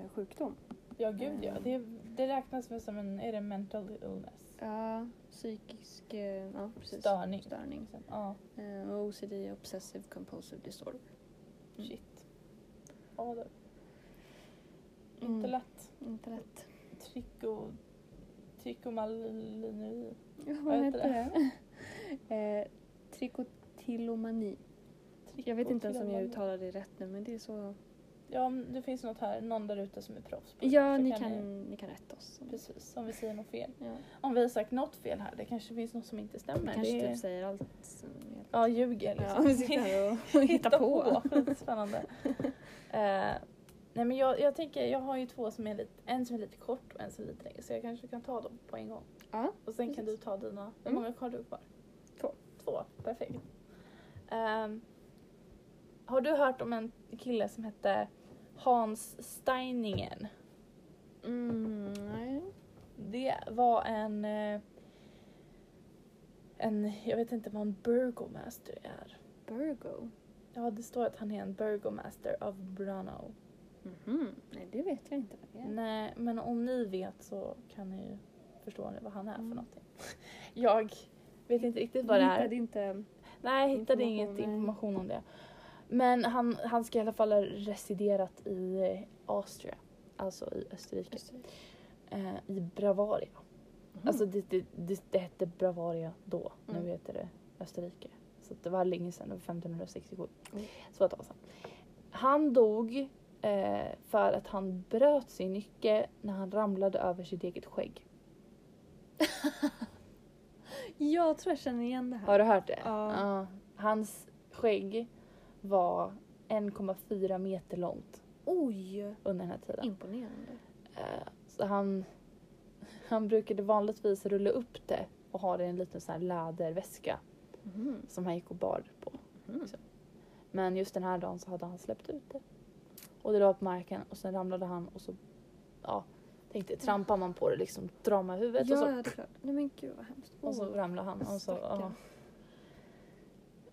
B: eh, sjukdom.
A: Ja, gud ja.
B: Mm.
A: Det, det räknas väl som en... Är det mental illness?
B: Ja, psykisk, eh, ja precis.
A: Störning.
B: Störning.
A: Liksom. Ja,
B: Eh, och OCD, Obsessive Compulsive Disorder. Mm.
A: shit. Ja, du.
B: Mm.
A: Inte lätt.
B: Inte lätt. *laughs*
A: Tricho... Trichomalineri.
B: Vad
A: heter
B: heter det? eh, trikotillomani. Jag vet inte ens om jag
A: Trichotillomani.
B: uttalar det rätt nu men det är så.
A: Ja, om det finns något här. Någon där ute som är proffs på det,
B: Ja,
A: så
B: ni kan, ni kan rätta oss.
A: Precis, om vi säger något fel.
B: Ja.
A: Om vi har sagt något fel här, det kanske finns något som inte
B: Ni
A: stämmer.
B: kanske
A: det
B: typ säger allt som vi
A: Ja, ljuger
B: Ja, vi sitter
A: liksom. *laughs*
B: här och hittar på.
A: Skitspännande. Eh, nej men jag, jag tänker, jag har ju två som är lite, en som är lite kort och en som är lite längre så jag kanske kan ta dem på en gång.
B: Ja.
A: Och sen kan du
B: Precis.
A: ta dina, hur
B: Mm.
A: många har du kvar?
B: Två.
A: Två, perfekt. Ehm, har du hört om en kille som hette Hans Steiningen?
B: Mm, nej.
A: Det var en... eh, En, jag vet inte vad en burgomaster är.
B: Burgo.
A: Ja, det står att han är en burgomaster av Brno.
B: Mhm. Nej, det vet jag inte vad det är.
A: Nej, men om ni vet så kan ni ju förstå vad han är för
B: Mm.
A: någonting. *laughs* Jag vet inte riktigt vad det
B: Du
A: är.
B: hittade inte...
A: Nej, jag hittade
B: information,
A: inget
B: nej.
A: information om det. Men han, han ska i alla fall ha residerat i eh, Austria, alltså i Österrike,
B: Typ.
A: eh, i Bavaria.
B: Mhm.
A: Alltså det, det, det, det hette Bavaria då.
B: Mm.
A: Nu heter det Österrike. Så att det var länge sedan, det var 1567.
B: Mm.
A: Så ett tag sedan. Han dog eh, för att han bröt sin nyckel när han ramlade över sitt eget skägg.
B: Jag tror jag känner igen det här.
A: Har du hört det?
B: Ja.
A: Ja. Hans skägg var 1,4 meter långt
B: Oj!
A: under den här tiden.
B: Imponerande.
A: Eh, Så han, han brukade vanligtvis rulla upp det och ha det i en liten sån här läderväska
B: Mhm.
A: som han gick och bar på.
B: Mm.
A: Men just den här dagen så hade han släppt ut det. Och det låg på marken och sen ramlade han och så ja, tänkte trampar man på det liksom drar man
B: Ja,
A: huvudet och,
B: ja,
A: så,
B: det är klart. Nej men gud vad hemskt.
A: och så
B: Åh,
A: ramlade han. Och så, ja.
B: stackarn.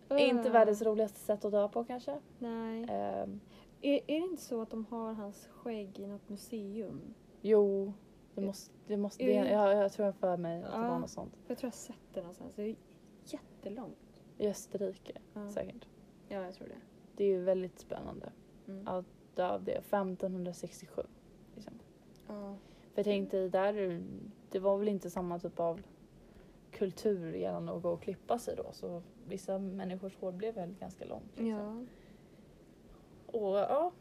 A: Inte
B: Äh. Mm.
A: världens roligaste sätt att dö på kanske.
B: Nej.
A: Ehm,
B: Är, är det inte så att de har hans skägg i något museum?
A: Jo, det måste... Det måste det,
B: Mm.
A: jag, jag tror jag för mig att det
B: Ja.
A: var något sånt.
B: Jag tror jag har sett det någonstans. Det är jättelångt.
A: I Österrike
B: Ja.
A: säkert.
B: Ja, jag tror det.
A: Det är ju väldigt spännande.
B: Mm.
A: Ja. Dö Av det. 1567. Liksom.
B: Ja.
A: För jag tänkte det där, det var väl inte samma typ av kultur gällande att gå och klippa sig då så vissa människors hår blev väl ganska långt. Liksom.
B: ja. *laughs*
A: Och ja.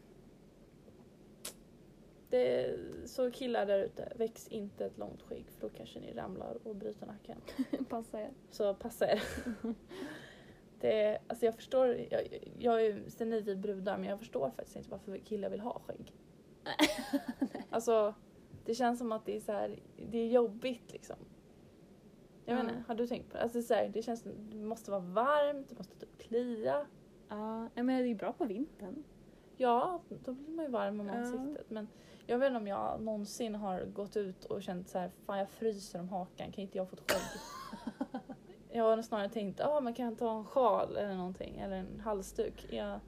A: Det, så killar där ute, väx inte ett långt skägg för då kanske ni ramlar och bryter nacken.
B: Passa er.
A: Så passa er. Det, alltså jag förstår, jag, jag är ju senil vid brudar men jag förstår faktiskt inte varför killar vill ha skägg. Alltså det känns som att det är så här, det är jobbigt liksom. Jag
B: Ja.
A: vet inte, har du tänkt på det? Alltså så här, det känns, det måste vara varmt, det måste typ klia.
B: Ja, men det är ju bra på vintern.
A: Ja, då blir man ju varm om
B: Ja.
A: ansiktet. Men jag vet inte om jag någonsin har gått ut och känt så här, fan jag fryser om hakan, kan inte jag få ett
B: *laughs*
A: skägg? jag har nog snarare tänkt, ja man kan ta en sjal eller någonting, eller en halsduk. Jag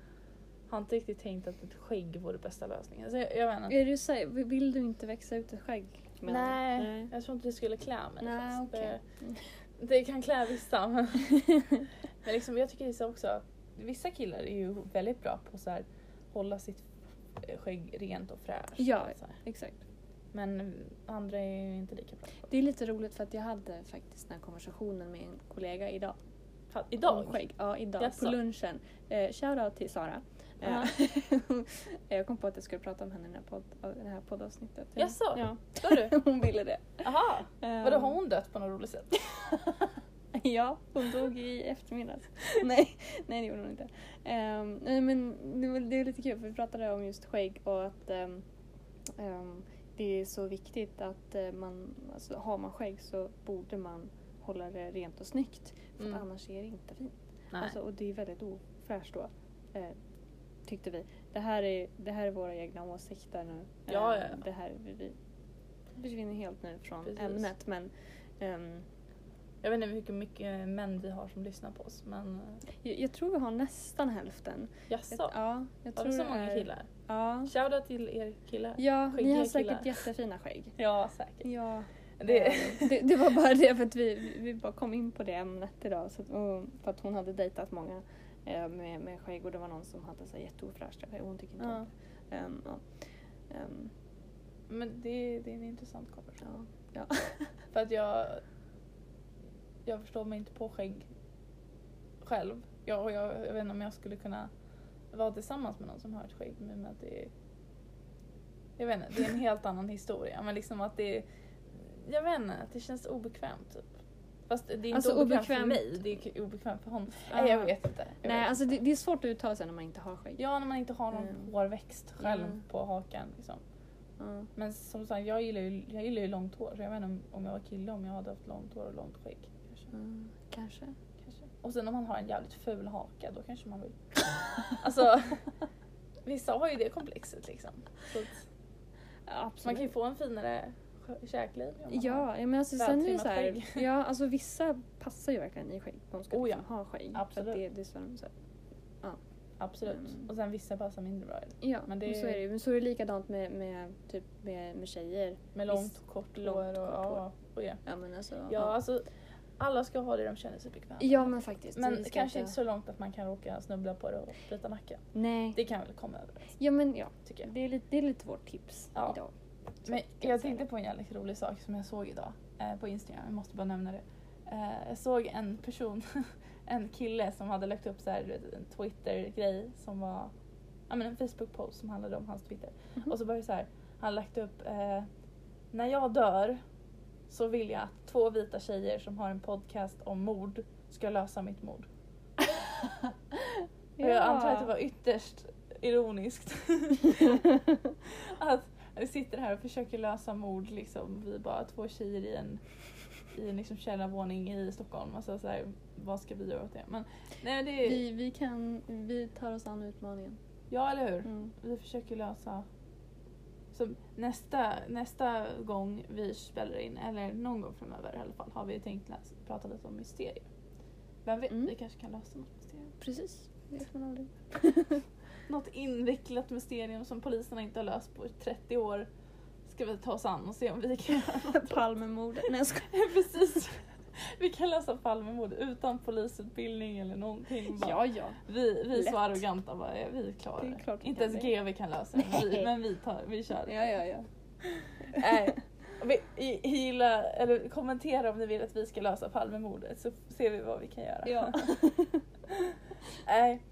A: har inte riktigt tänkt att ett skägg vore bästa lösningen. Alltså, jag, jag vet inte.
B: Är du så här, vill du inte växa ut ett skägg? menar du?
A: Nej, jag tror inte det skulle klä mig.
B: Nej, eh,
A: fast
B: okej.
A: det, det kan klä vissa.
B: *laughs*
A: Men, men liksom, jag tycker det är så också, vissa killar är ju väldigt bra på att hålla sitt eh, skägg rent och fräscht.
B: Ja.
A: Så här.
B: *laughs* Exakt.
A: Men eh, andra är ju inte lika bra. på
B: Det är lite roligt för att jag hade faktiskt den här konversationen med en kollega idag.
A: det. Fan,
B: Om
A: Idag?
B: Skägg. Ja, idag
A: Jaså?
B: på lunchen. Eh, Shoutout till Sara. Eh, *laughs* jag kom på att jag skulle prata om henne i den här podd- det här poddavsnittet.
A: Jaså?
B: Ja,
A: Sa du?
B: *laughs* hon ville det.
A: Jaha!
B: *laughs*
A: Vadå,
B: Eh,
A: har hon dött på något roligt sätt?
B: *laughs* Ja, *laughs* hon dog i eftermiddags.
A: *laughs*
B: *laughs* nej, nej, det gjorde hon inte. Ehm, nej, men det, var- det är lite kul för vi pratade om just skägg och att ehm, ehm, det är så viktigt att eh, man, alltså, har man skägg så borde man hålla det rent och snyggt. För att
A: Mm.
B: annars är det inte fint.
A: Nej.
B: Alltså, och det är väldigt ofräscht då. Eh, tyckte vi. Det här, är, det här är våra egna åsikter nu. Eh,
A: Ja, ja, ja.
B: Det här vi, vi försvinner helt nu från
A: Precis.
B: ämnet. Men ehm,
A: Jag vet inte hur mycket, mycket män vi har som lyssnar på oss men eh,
B: jag, jag tror vi har nästan hälften.
A: jaså?
B: Ett- ja, jag
A: Har
B: tror
A: vi Alltså, så
B: det
A: många
B: är-
A: killar?
B: Ja.
A: Shoutout till er killar.
B: Ja, ni
A: Skäggiga
B: har säkert
A: killar.
B: jättefina skägg.
A: *laughs* Ja, säkert.
B: Ja.
A: Det...
B: eh, det, det var bara det för att vi, vi bara kom in på det ämnet idag. Så att, och, för att hon hade dejtat många eh, med, med skägg och det var någon som hade så här jätteofräscht skägg och hon tycker inte om
A: Ja.
B: det. Ehm, ja. Ehm,
A: *laughs* Men det, det är en intressant konversation.
B: ja. Ja.
A: För att jag, jag förstår mig inte på skägg själv. Jag, och jag, jag vet inte om jag skulle kunna vara tillsammans med någon som har ett skägg. Men att det, är- jag vet inte, det är en helt annan historia. Men liksom att det, är- jag vet inte, att det känns obekvämt typ. Fast det är inte
B: Alltså,
A: obekvämt för
B: obekvämt.
A: mig, det är obekvämt för honom.
B: Ja.
A: Nej, jag vet inte. Jag
B: Nej,
A: vet
B: alltså det,
A: inte.
B: det är svårt att uttala sig när man inte har skägg.
A: Ja, när man inte har någon
B: Mm.
A: hårväxt själv
B: Mm.
A: på hakan. Liksom.
B: Ja.
A: Men som sagt, jag gillar ju, jag gillar ju långt hår. Så jag vet inte om, om jag var kille om jag hade haft långt hår och långt skägg. Kanske.
B: Mm, kanske.
A: Kanske. Och sen om man har en jävligt ful haka, då kanske man vill.
B: *laughs*
A: alltså, vissa har ju det komplexet liksom. Så att
B: Absolut.
A: man kan ju få en finare skö- käkliv. om man har-
B: Ja, ja, men alltså sen är det
A: vältrimmat
B: så här,
A: skägg.
B: *laughs* ja, alltså vissa passar ju verkligen i skägg. De ska
A: Oh ja,
B: liksom ha skägg. För
A: absolut.
B: att det, det är så de, så här,
A: Absolut.
B: Mm.
A: Och sen vissa passar mindre bra i det.
B: ja,
A: Men
B: men,
A: det-
B: så är det ju. Men så är det likadant med, med, typ, med, med tjejer.
A: Med långt och kort
B: långt,
A: hår. Och,
B: kort
A: ja,
B: hår.
A: och ja.
B: Ja men alltså.
A: ja, alltså alla ska ha det de känner sig bekväma
B: ja
A: med.
B: men faktiskt.
A: Men
B: vi ska
A: kanske inte så långt att man kan råka snubbla på det och bryta nacken.
B: Nej.
A: Det kan väl komma över,
B: Ja men ja.
A: tycker jag.
B: Det är lite, det är lite vårt tips
A: Ja.
B: idag.
A: Men
B: kan jag
A: jag
B: säga
A: tänkte
B: det.
A: på en jävligt rolig sak som jag såg idag eh, på Instagram, jag måste bara nämna det. Eh, jag såg en person, *laughs* en kille som hade lagt upp så här, du vet, en Twitter-grej som var, ja men en Facebook-post som handlade om hans Twitter. *laughs*
B: Mhm.
A: Och så började det så här, han lagt upp, eh, när jag dör så vill jag att två vita tjejer som har en podcast om mord ska lösa mitt mord. Och jag antar att det var ytterst
B: *laughs*
A: ironiskt. att vi sitter här och försöker lösa mord liksom. Vi är bara två tjejer i en, i en liksom källarvåning i Stockholm. Alltså så här, vad ska vi göra åt det? Men nej det är,
B: Vi, vi kan, vi tar oss an utmaningen.
A: ja eller hur?
B: Mm.
A: Vi försöker lösa så nästa, nästa gång vi spelar in, eller någon gång framöver i alla fall, har vi tänkt läsa, prata lite om mysterier. Vem vet,
B: Mm.
A: vi kanske kan lösa något mysterium.
B: Precis. Det vet man aldrig.
A: Något invecklat mysterium som poliserna inte har löst på 30 år ska vi ta oss an och se om vi kan
B: *laughs* Palmemordet. Nej jag
A: *laughs*
B: skojar.
A: Precis. Vi kan lösa Palmemordet utan polisutbildning eller någonting. Bara.
B: Ja, ja.
A: Vi, vi är så
B: Lätt.
A: arroganta bara, ja, vi klarar
B: Det är
A: det.
B: klart vi
A: Inte
B: kan
A: ens
B: det.
A: GV kan lösa det, men vi,
B: Nej.
A: men vi, tar, vi kör.
B: Ja, ja, ja.
A: Nej. *laughs* Vi, i- gilla, eller kommentera om ni vill att vi ska lösa Palmemordet så ser vi vad vi kan göra.
B: ja.
A: *laughs* Nej.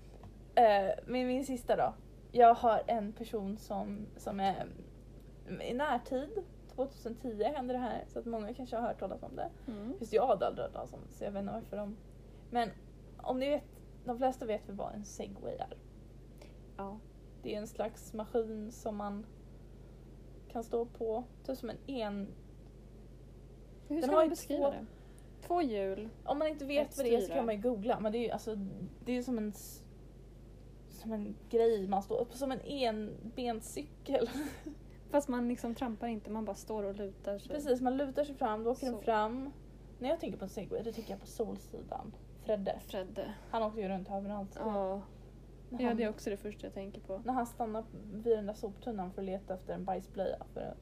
A: Eh, min, min sista då. Jag har en person som, som är i närtid, 2010 hände det här så att många kanske har hört talas om det.
B: Mm.
A: Fast jag hade aldrig hört talas om det, så jag vet inte varför de... Men om ni vet, de flesta vet väl vad en segway är.
B: ja.
A: Det är en slags maskin som man kan stå på, typ som en en...
B: Hur
A: Den
B: ska
A: har
B: man
A: ju
B: beskriva
A: två-
B: det? Två hjul.
A: Om man inte vet
B: Ett
A: vad det är så
B: styre.
A: kan man ju googla, men det är ju alltså, det är ju som en... s- Som en grej man står upp som en enbenscykel.
B: Fast man liksom trampar inte, man bara står och lutar sig.
A: Precis, man lutar sig fram, då åker den
B: Så.
A: fram. När jag tänker på en segway, då tänker jag på Solsidan. Fredde.
B: Fredde.
A: Han åkte ju runt överallt.
B: Ja.
A: När
B: ja,
A: han-
B: det är också det första jag tänker på.
A: När han stannade vid den där soptunnan för att leta efter en bajsblöja för att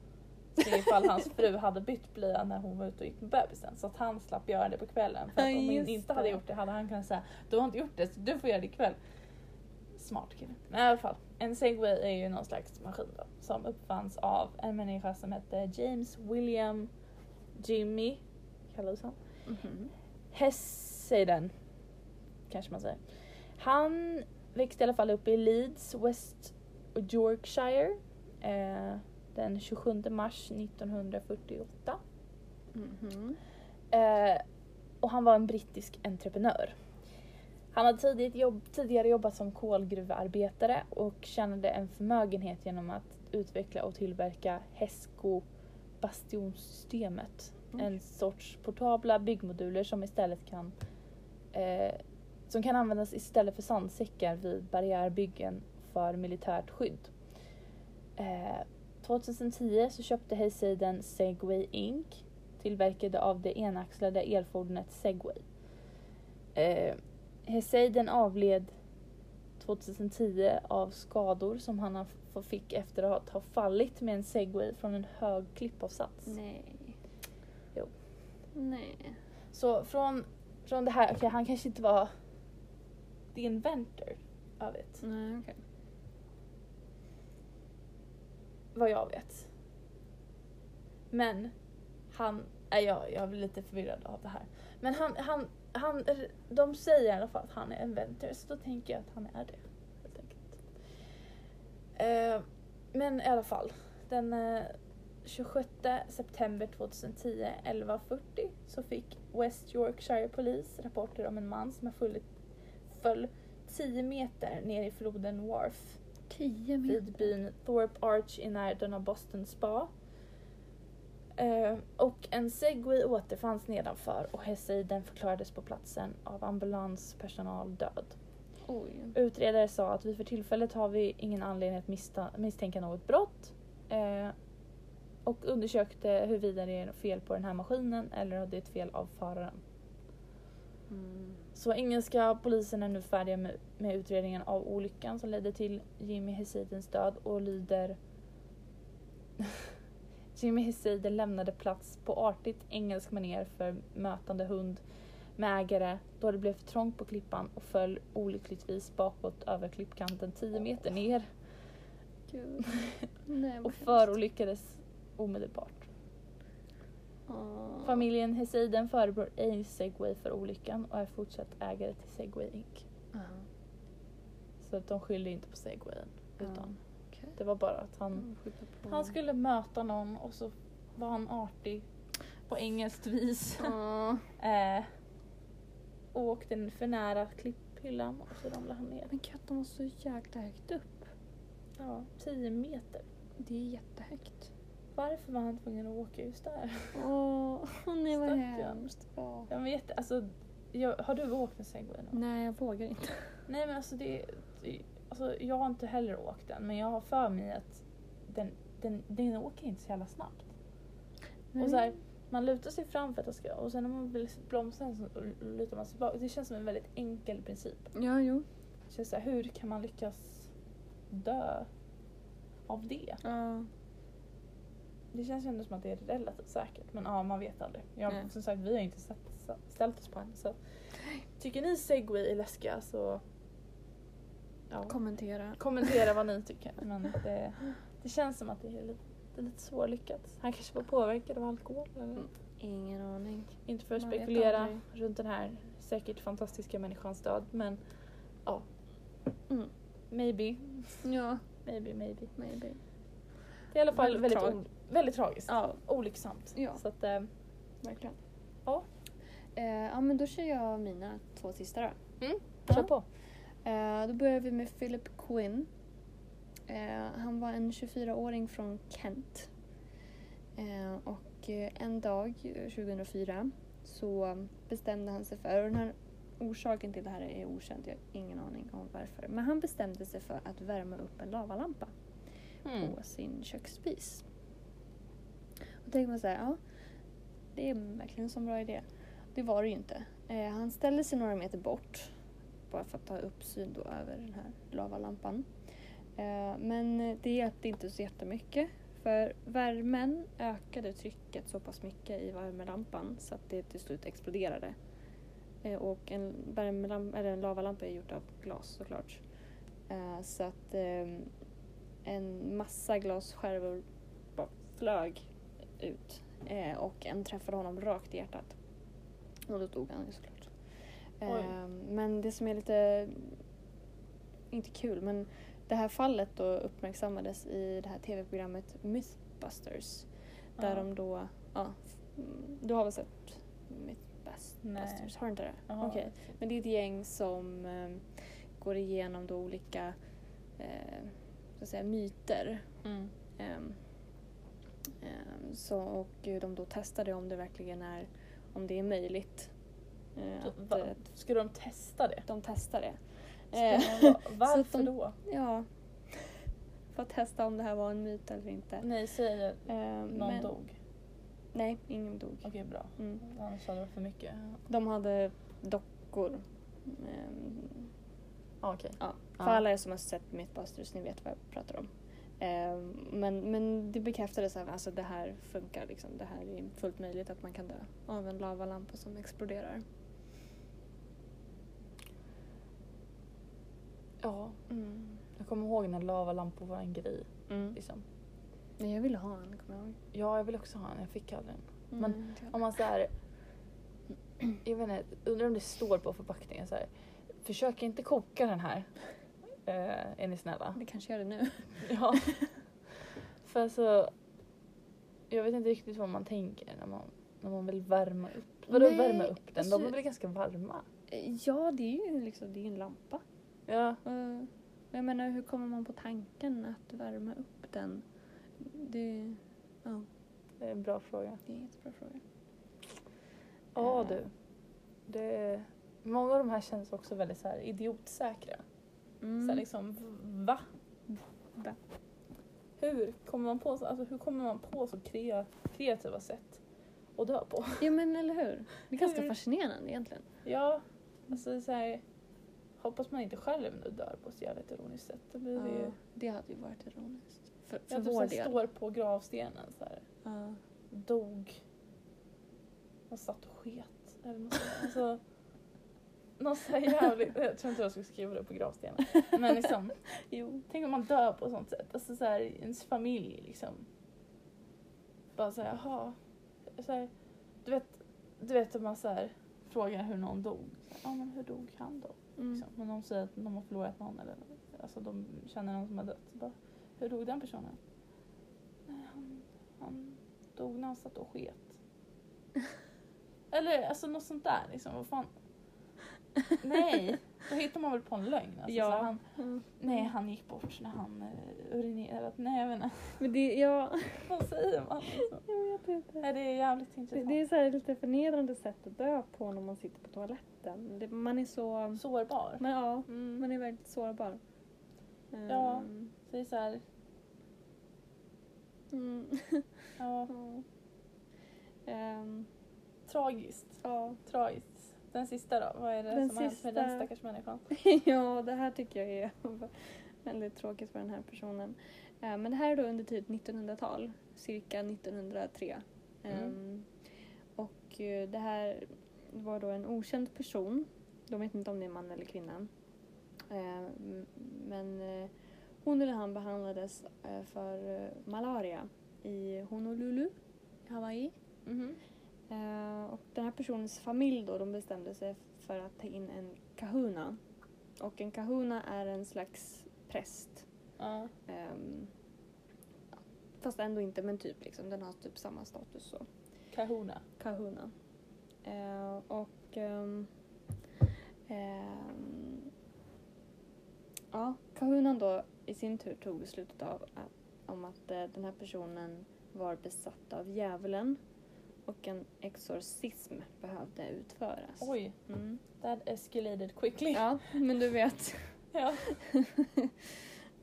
A: se ifall hans fru hade bytt blöja när hon var ute och gick med bebisen. Så att han slapp göra det på kvällen. För att
B: Ja,
A: om hon
B: just
A: inte
B: det.
A: hade gjort det hade han kunnat säga du har inte gjort det så du får göra det ikväll. Smart kille. Men i alla fall, en segway är ju någon slags maskin då, som uppfanns av en människa som hette James William Jimmy, kallades han.
B: Mhm.
A: Hesseiden. Kanske man säger. Han växte i alla fall upp i Leeds, West Yorkshire. Eh, den 27 mars 1948.
B: Mhm.
A: Eh, och han var en brittisk entreprenör. Han hade tidigt jobb, tidigare jobbat som kolgruvarbetare och tjänade en förmögenhet genom att utveckla och tillverka Hesco-bastionssystemet.
B: Oj.
A: En sorts portabla byggmoduler som istället kan eh, som kan användas istället för sandsäckar vid barriärbyggen för militärt skydd. Eh, 2010 så köpte Hayseiden Segway Inc. tillverkade av det enaxlade elfordonet Segway. Eh, Hayseiden avled 2010 av skador som han har f- fick efter att ha fallit med en segway från en hög klippavsats.
B: Nej.
A: Jo.
B: Nej.
A: Så från, från det här, okej han kanske inte var the inventor av det,
B: Nej, okej.
A: vad jag vet. Men han, nej jag, jag blir lite förvirrad av det här. Men han, han, han, de säger i alla fall att han är inventor så då tänker jag att han är det. Helt enkelt. Eh, men i alla fall, den eh, 26 september 2010 11.40 så fick West Yorkshire Police rapporter om en man som har fallit, föll 10 meter ner i floden Wharf
B: Tio
A: vid byn Thorpe Arch i närheten av Boston Spa. Eh, och en segway återfanns nedanför och Hesseiden förklarades på platsen av ambulanspersonal död.
B: Oj.
A: Utredare sa att vi för tillfället har vi ingen anledning att missta- misstänka något brott eh, och undersökte huruvida det är något fel på den här maskinen eller om det är ett fel av föraren.
B: Mm.
A: Så engelska polisen är nu färdiga med, med utredningen av olyckan som ledde till Jimmy Hesidens död och lyder... *laughs* Jimmy Hesiden lämnade plats på artigt engelsk maner för mötande hund med ägare då det blev för trångt på klippan och föll olyckligtvis bakåt över klippkanten 10 meter ner
B: Gud. Nej, vad
A: *laughs* och
B: hemskt.
A: förolyckades omedelbart.
B: Åh.
A: Familjen Hesiden förebrår ej Segway för olyckan och är fortsatt ägare till Segway Inc.
B: Ja.
A: Så att de skyllde inte på segwayen. Utan
B: Okej.
A: det var bara att han,
B: Mm, skjuta på.
A: han skulle möta någon och så var han artig på engelskt vis.
B: Åh.
A: *laughs* eh, och åkte för nära klipphyllan och så ramlade han ner.
B: Men katten var så jäkla högt upp.
A: Ja, 10 meter.
B: Det är jättehögt.
A: Varför var han tvungen att åka just där?
B: Åh, nej vad
A: Stackarn.
B: hemskt. Ja.
A: Jag vet, alltså, jag, har du åkt en segway någon gång?
B: Nej, jag vågar inte.
A: Nej men alltså det, det- alltså, jag har inte heller åkt den men jag har för mig att den, den, den åker inte så jävla snabbt.
B: Nej.
A: Och så här, man lutar sig fram för att det ska och sen när man vill bromsa den så lutar man sig bak. Det känns som en väldigt enkel princip.
B: Ja, jo.
A: Det känns så här, hur kan man lyckas dö av det.
B: Ja.
A: Det känns ju ändå som att det är relativt säkert men ja man vet aldrig. Jag,
B: Nej.
A: Som sagt vi har inte satt, ställt oss på än så tycker ni segway är läskiga så ja.
B: Kommentera.
A: kommentera vad ni tycker. Men det, det känns som att det är lite, det är lite svårlyckat. Han kanske var påverkad av alkohol. Eller?
B: Mm. *laughs* Ingen aning.
A: Inte för att
B: Man vet
A: spekulera
B: aldrig.
A: runt den här säkert fantastiska människans död men ja.
B: Mm.
A: Maybe,
B: Ja,
A: maybe, maybe.
B: maybe.
A: Det är i alla fall
B: Väldigt
A: väldigt,
B: trag-
A: o- väldigt tragiskt.
B: Ja,
A: Olycksamt.
B: Ja.
A: Så att, eh,
B: verkligen.
A: Ja.
B: Eh, ja, men då kör jag mina två sista då.
A: kör
B: Mm. Ja.
A: på.
B: Eh, då börjar vi med Philip Quinn. Eh, han var en 24-åring från Kent. Eh, och eh, en dag eh, 2004 så bestämde han sig för, och den här orsaken till det här är okänd, jag har ingen aning om varför. Men han bestämde sig för att värma upp en lavalampa
A: Mm.
B: på sin köksspis. Och tänker man så här, ja, det är verkligen en sån bra idé. Det var det ju inte. Eh, han ställde sig några meter bort, bara för att ta uppsyn då över den här lavalampan. Eh, men det hjälpte inte så jättemycket. För värmen ökade trycket så pass mycket i värmelampan så att det till slut exploderade. Eh, och en, värmelamp, eller en lavalampa är gjort av glas såklart. Eh, så att ehm, en massa glasskärvor bara flög ut eh, och en träffade honom rakt i hjärtat. Och då dog han ju såklart.
A: Oj.
B: Eh, men det som är lite, inte kul, men det här fallet då uppmärksammades i det här tv-programmet Mythbusters. Där
A: Ja.
B: de då, ja, mm, du har väl sett Mythbusters?
A: Nej.
B: Har du inte det?
A: Jaha.
B: Okej. Men det är ett gäng som eh, går igenom då olika eh, så att säga, myter.
A: Mm.
B: Ehm, ehm, så, och de då testade om det verkligen är, om det är möjligt. Eh,
A: Så,
B: att,
A: va-
B: eh,
A: Ska de testa det?
B: de testar det. Eh,
A: Spännande.
B: *laughs* så
A: Varför
B: att de-
A: då?
B: ja. För att testa om det här var en myt eller inte.
A: Nej, säger
B: Ehm,
A: någon
B: men-
A: dog.
B: Nej, ingen dog.
A: Okej, bra.
B: Mm.
A: Annars hade det varit för mycket.
B: De hade dockor. Ehm,
A: Ja, okej.
B: Ja, för
A: Ja.
B: alla er som har sett Mythbusters, ni vet vad jag pratar om. Ehm, men, men det bekräftades att alltså, det här funkar. Liksom. Det här är fullt möjligt att man kan dö av en lavalampa som exploderar.
A: Ja, jag kommer ihåg när lavalampor var en grej.
B: Mm.
A: Liksom.
B: Men jag ville ha en, kommer jag ihåg.
A: Ja, jag vill också ha en. Jag fick aldrig en. Men
B: Mm, inte jag.
A: Om man så här, *clears throat* jag vet inte, undrar om det står på förpackningen så här. Försök inte koka den här. Eh, är ni
B: *laughs*
A: snälla?
B: Det kanske gör det nu.
A: Ja. För alltså, jag vet inte riktigt vad man tänker när man, när man vill värma upp. Vadå
B: Nej,
A: värma upp den? De
B: alltså-
A: är väl ganska varma?
B: ja, det är ju liksom, det är ju en lampa.
A: Ja.
B: Uh, jag menar, hur kommer man på tanken att värma upp den? Det, ja,
A: Det är en bra fråga.
B: det är en jättebra fråga.
A: Ja
B: Eh.
A: du. Det är, många av de här känns också väldigt så här idiotsäkra.
B: Mm.
A: Så här liksom, v- va?
B: Va?
A: Hur kommer man på så, alltså, hur kommer man på så krea, kreativa sätt att dö på?
B: Ja, men eller hur? Det är ganska
A: Hur?
B: fascinerande egentligen.
A: Ja, alltså så här, hoppas man inte själv nu dör på ett jävligt ironiskt sätt. Då blir det ju...
B: Ja, det hade ju varit ironiskt. För, för
A: Jag typ så
B: vår
A: här
B: del.
A: står på gravstenen så här,
B: Ja.
A: dog, och satt och sket eller något sånt. Alltså, något så här jävligt, jag tror inte jag skulle skriva det på
B: *laughs*
A: gravstenen. Men liksom,
B: Jo.
A: Tänk om man dör på ett sånt sätt. Alltså så här, ens familj liksom. Bara så här, jaha. Så här, du vet, du vet om man så här, frågar hur någon dog. Så här, Ja men hur dog han då?
B: Mm.
A: Liksom. Om någon säger att de har förlorat någon eller alltså de känner någon som har dött. Så bara, hur dog den personen? Nej, han, han dog när han satt och sket.
B: *laughs*
A: Eller alltså något sånt där liksom. Vad fan. Nej, då hittar man väl på en lögn. Alltså,
B: Ja.
A: så här, han,
B: Mm.
A: Nej, han gick bort när han eh, urinerade. Nej, jag vet inte.
B: Men det, ja,
A: *laughs* Vad säger man? Liksom?
B: jag vet inte.
A: Nej, det är jävligt
B: Det,
A: intressant.
B: det är så här lite förnedrande sätt att dö på när man sitter på toaletten. Det, man är så...
A: Sårbar.
B: Men ja,
A: Mm.
B: man är väldigt sårbar.
A: Ja.
B: Ehm,
A: Så det är så här,
B: Mm.
A: ja,
B: Ja. Ehm,
A: tragiskt.
B: ja.
A: Tragiskt. Den sista då? Vad är det
B: Den
A: som har hänt med
B: sista. *laughs*
A: den stackars människan?
B: ja, det här tycker jag är... *laughs* Väldigt tråkigt för den här personen. Eh, Men det här är då under typ 1900-tal, cirka 1903.
A: Mm.
B: Ehm, Och eh, det här var då en okänd person. De vet inte om det är man eller kvinna. Eh, m- Men eh, hon eller han behandlades eh, för eh, malaria i Honolulu, Hawaii.
A: Mhm.
B: Eh, och den här personens familj då, de bestämde sig för att ta in en kahuna. Och en kahuna är en slags präst.
A: Ja.
B: Ehm, fast ändå inte, men typ liksom, den har typ samma status så.
A: Kahuna.
B: Kahuna. Eh, och... ehm, ehm, ja, Kahunan då i sin tur tog beslutet av att, om att eh, den här personen var besatt av djävulen och en exorcism behövde utföras.
A: Oj,
B: Mm.
A: that escalated quickly.
B: Ja, men du vet.
A: Ja.
B: *laughs*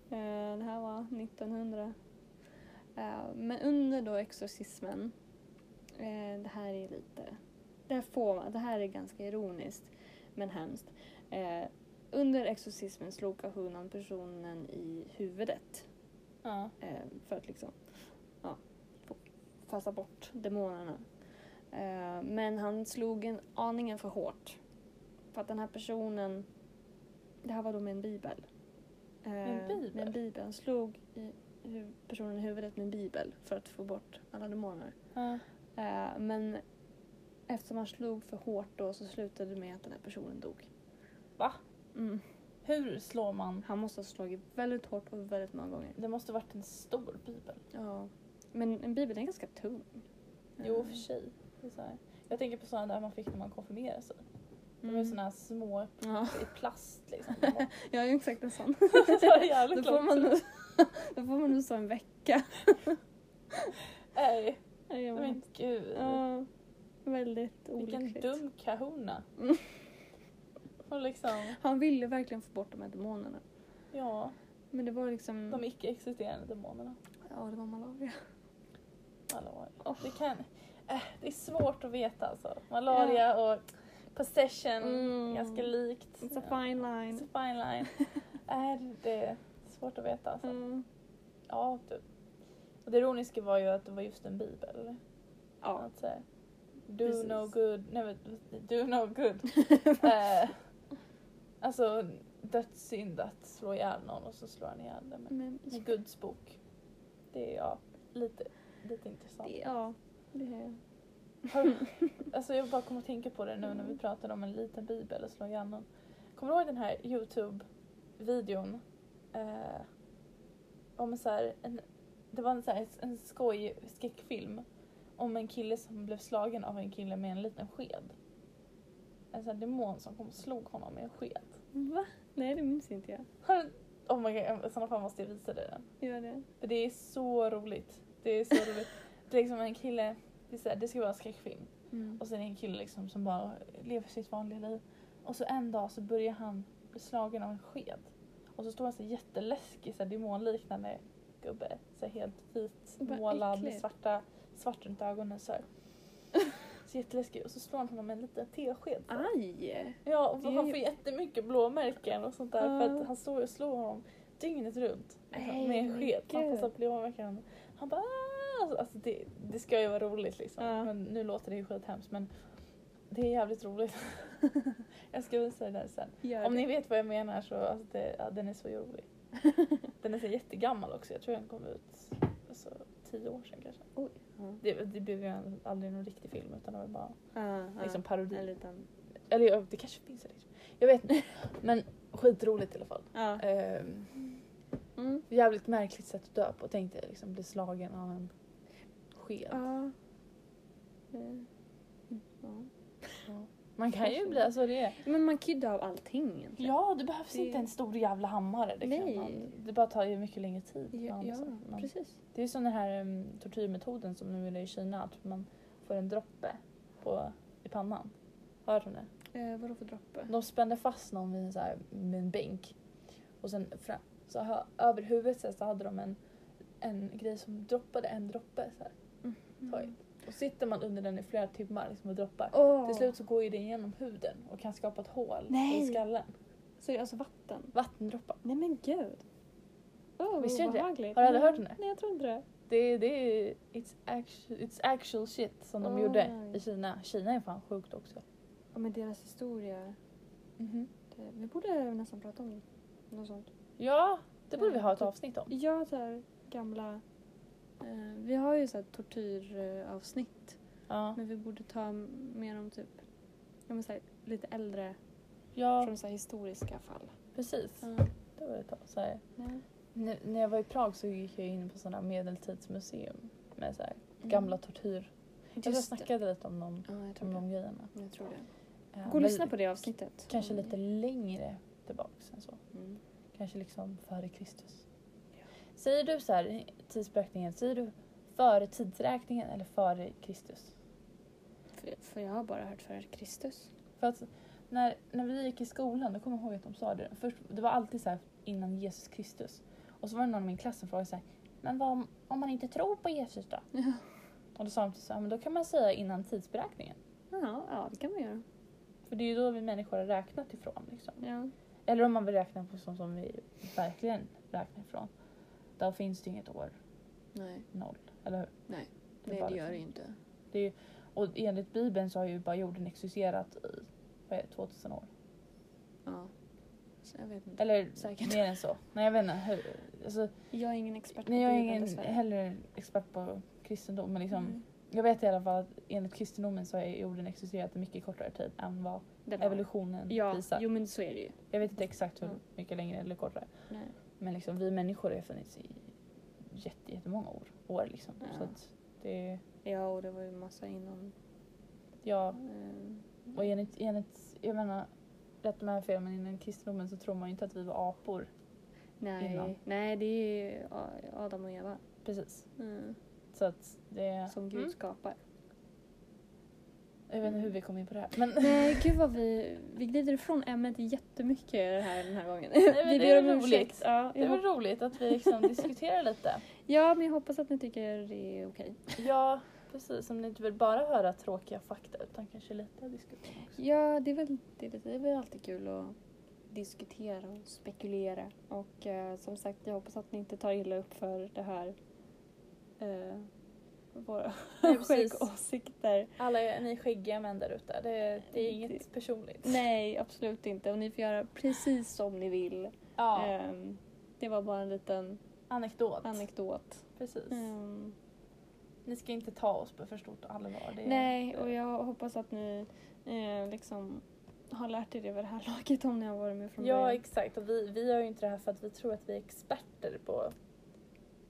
B: Eh, Det här var 1900. Eh, Men under då exorcismen, eh, det här är lite, det här, får, man- det här är ganska ironiskt men hemskt. Eh, Under exorcismen slog kahunan personen i huvudet
A: Ja.
B: eh, för att liksom ja, få- fasa bort demonerna. Eh, Men han slog en aningen för hårt. För att den här personen, det här var då med en bibel. Eh,
A: en bibel?
B: Med en bibel. Han slog i hu- personen i huvudet med en bibel för att få bort alla demoner.
A: Ja.
B: Eh, Men eftersom han slog för hårt då så slutade det med att den här personen dog.
A: Va?
B: Mm.
A: Hur slår man?
B: Han måste ha slagit väldigt hårt och väldigt många gånger.
A: Det måste varit en stor bibel.
B: Ja. Men en bibel är ganska tung.
A: Jo,
B: Eh,
A: för sig. Det är så här. Jag tänker på sådana där man fick när man konfirmerade sig. De var
B: mm.
A: ju sådana här små
B: Ja, *laughs*
A: i plast liksom. De var-
B: jag är ju exakt en sån.
A: *laughs* Det var jävligt
B: Då får
A: långt.
B: man nog, då får man nog *laughs* stå en vecka.
A: Nej,
B: Ja,
A: men gud.
B: ja, väldigt
A: Vilken
B: olyckligt.
A: dum kahuna.
B: Mm.
A: Och liksom,
B: Han ville verkligen få bort de här demonerna.
A: ja,
B: Men det var liksom...
A: de icke-existerande demonerna.
B: Ja, det var malaria.
A: Alla var ju-
B: Åh.
A: Det, kan, äh, det är svårt att veta alltså. Malaria och possession,
B: Mm.
A: ganska likt.
B: It's a fine
A: It's
B: *laughs* line.
A: a fine line. Äh, det är svårt att veta alltså.
B: Mm.
A: Ja, du. Och det ironiska var ju att det var just en bibel.
B: Ja.
A: Att säga, do
B: Precis.
A: no good, nej men do no
B: *laughs*
A: good. eh, alltså dödssynd att slå ihjäl någon och så slår han ihjäl den med,
B: Men,
A: med Guds bok. Det är ja, lite, lite intressant.
B: det, ja, det är...
A: Har,
B: *laughs*
A: alltså jag bara kom att tänka på det nu
B: Mm.
A: när vi pratade om en liten bibel och slå ihjäl någon. Kommer du ihåg den här Youtube-videon? Eh, om så här, en, det var en, så här, en skoj skräckfilm om en kille som blev slagen av en kille med en liten sked. En sån här demon som kom och slog honom med en sked.
B: Va? Nej, det minns inte jag.
A: Har du- Oh my god, i sådana fall måste jag visa dig den.
B: Gör det?
A: För det är så roligt. Det är så
B: *laughs*
A: roligt. Det är liksom en kille, det, är så här, det ska vara en skräckfilm.
B: Mm.
A: Och sen är det en kille liksom som bara lever sitt vanliga liv. Och så en dag så börjar han bli slagen av en sked. Och så står han så jätteläskig, så här demonliknande gubbe. Så här helt vit,
B: Vad
A: målad med
B: äckligt.
A: svarta, svart runt ögonen
B: *laughs*
A: så här. Så jätteläskig. Och så slår han honom med en liten tesked.
B: Ah.
A: så här.
B: Aj!
A: Ja, och
B: det är
A: han
B: ju-
A: får jättemycket blåmärken och sånt där för
B: Ja.
A: att han står och slår honom dygnet runt.
B: Nej,
A: med en
B: men
A: sked. Så Han
B: gud.
A: får så här blåmärken. Han bara "Ah!" alltså, alltså, det, det ska ju vara roligt liksom.
B: Ja.
A: Men nu låter det ju skithemskt men det är jävligt
B: *laughs*
A: roligt. jag ska visa det där sen.
B: Gör
A: Om
B: det.
A: ni vet vad jag menar så alltså, det, ja, den är så
B: *laughs*
A: rolig. Den är så jättegammal också. Jag tror den kom ut alltså, tio år sedan kanske.
B: Oj. Ja.
A: Det, det blev ju aldrig någon riktig film utan det var bara
B: Ja, ja.
A: liksom parodi.
B: Ah, En liten...
A: Eller ja, det kanske finns en riktig Jag vet *laughs* inte. Men skitroligt i alla fall.
B: Ja.
A: Ehm,
B: Mm.
A: jävligt märkligt sätt att dö på. Tänk dig liksom bli slagen av en sked.
B: Ja. Eh, ja.
A: Man kan ju bli alltså det.
B: Men man kan ju dö av allting egentligen.
A: Ja, det behövs
B: Det-
A: inte en stor jävla hammare. Det, kan
B: Nej.
A: man, det bara tar ju mycket längre tid. att
B: Ja,
A: behandla
B: ja
A: sig. Men
B: precis.
A: det är ju som den här um, tortyrmetoden som nu är i Kina. Att man får en droppe på, i pannan. Har du hört om det?
B: Eh, vadå för droppe?
A: De spände fast någon vid en, så här, med en bänk. Och sen fram, så här, över huvudet så, här, så hade de en, en grej som droppade en droppe. Så här. Oj. Och sitter man under den i flera timmar liksom, och droppar.
B: Åh.
A: Till slut så går ju det igenom huden och kan skapa ett hål
B: Nej.
A: i skallen.
B: Så är det alltså vatten?
A: Vattendroppar.
B: Nej men gud. Oh,
A: Visste du inte det?
B: obehagligt.
A: Har du aldrig
B: Nej,
A: hört om det?
B: Nej, jag tror inte det.
A: Det, det är it's actual, it's actual shit som de gjorde
B: Oj.
A: i Kina. Kina är fan sjukt också.
B: Ja, men deras historia. Det, vi borde nästan prata om något sånt.
A: Ja, det borde vi ha ett avsnitt om.
B: Ja, så här gamla... Eh, vi har ju så här tortyravsnitt.
A: Ja,
B: Men vi borde ta mer om typ ja, men så här, lite äldre,
A: ja
B: från så här historiska fall.
A: precis. Det var ett tag. Så här.
B: Nej.
A: Nu, när jag var i Prag så gick jag in på sådana medeltidsmuseum med så här, gamla tortyr. Jag tror jag
B: Mm. Just det.
A: snackade lite om de,
B: Ja, jag tror
A: om de
B: det.
A: grejerna.
B: Jag tror det.
A: Eh,
B: Gå och
A: men
B: lyssna på det avsnittet.
A: Kanske
B: Mm.
A: lite längre tillbaks än så.
B: Mm.
A: Kanske liksom före Kristus.
B: Ja.
A: Säger du så här, tidsberäkningen, säger du före tidsräkningen eller före Kristus?
B: För, för jag har bara hört för Kristus.
A: För att när, när vi gick i skolan, då kommer jag ihåg att de sa det. Först, det var alltid så här innan Jesus Kristus. Och så var det någon i min klass som frågade så här, men vad om, om man inte tror på Jesus då?
B: Ja.
A: Och då sa de så här, men då kan man säga innan tidsberäkningen.
B: Ja, ja, det kan man göra.
A: För det är ju då vi människor har räknat ifrån. Liksom.
B: Ja.
A: Eller om man vill räkna på sånt som vi verkligen räknar ifrån. Då finns det ju inget år
B: Nej,
A: noll, eller hur?
B: Nej,
A: är bara liksom-
B: inte.
A: Det är ju, och enligt Bibeln så har ju bara jorden existerat i vad är det, 2000 år.
B: Ja. Så jag vet inte.
A: Eller
B: Säkert.
A: mer än så. Nej jag vet inte. Hur, alltså,
B: Jag är ingen expert på
A: nej, jag är
B: Bibeln
A: ingen eh,
B: dessvärre.
A: heller expert på kristendom men liksom,
B: Mm.
A: jag vet i alla fall att enligt kristendomen så har jorden existerat i mycket kortare tid än vad
B: Den har-
A: evolutionen
B: Ja,
A: visar.
B: jo men så är det ju.
A: Jag vet inte exakt hur
B: Mm.
A: mycket längre eller kortare.
B: Nej.
A: Men liksom, vi människor har funnits i jätte, jättemånga år. år liksom.
B: Ja.
A: Så att det,
B: Ja, och det var ju massa innan.
A: ja,
B: eh,
A: och enligt, enligt, jag menar, rätt med fel men inom kristendomen så tror man ju inte att vi var apor.
B: nej,
A: Innan.
B: nej, det är ju A- Adam och Eva.
A: Precis.
B: Mm.
A: Så att det...
B: Som Gud
A: Mm.
B: skapar.
A: Jag vet inte hur vi kom in på det här. Men, *laughs*
B: Nej, gud vad vi, vi glider ifrån ämnet jättemycket det här, den här gången.
A: men
B: *laughs* vi
A: det
B: ber
A: är
B: om
A: roligt.
B: ursäkt. Ja,
A: det
B: jag
A: är väl
B: hop-
A: roligt att vi liksom diskuterar lite.
B: ja, men jag hoppas att ni tycker det är okej.
A: Ja, precis. Om ni inte vill bara höra tråkiga fakta utan kanske lite diskussion också.
B: Ja, det är, väl, det, är- det är väl alltid kul att diskutera och spekulera. Och eh, som sagt, jag hoppas att ni inte tar illa upp för det här. Eh, våra *laughs*
A: Nej, precis.
B: skäggåsikter.
A: Alla är- ni skäggiga män där ute, det, det är inget
B: Det-
A: personligt.
B: Nej, absolut inte. Och ni får göra precis som ni vill.
A: Ja,
B: Ehm, det var bara en liten
A: anekdot.
B: anekdot.
A: precis.
B: Ehm,
A: Ni ska inte ta oss på för stort allvar. Det,
B: Nej, och jag hoppas att ni eh, liksom har lärt er det vid det här *laughs* laget om ni har varit med från
A: Ja,
B: början.
A: exakt. Och vi, vi gör ju inte det här för att vi tror att vi är experter på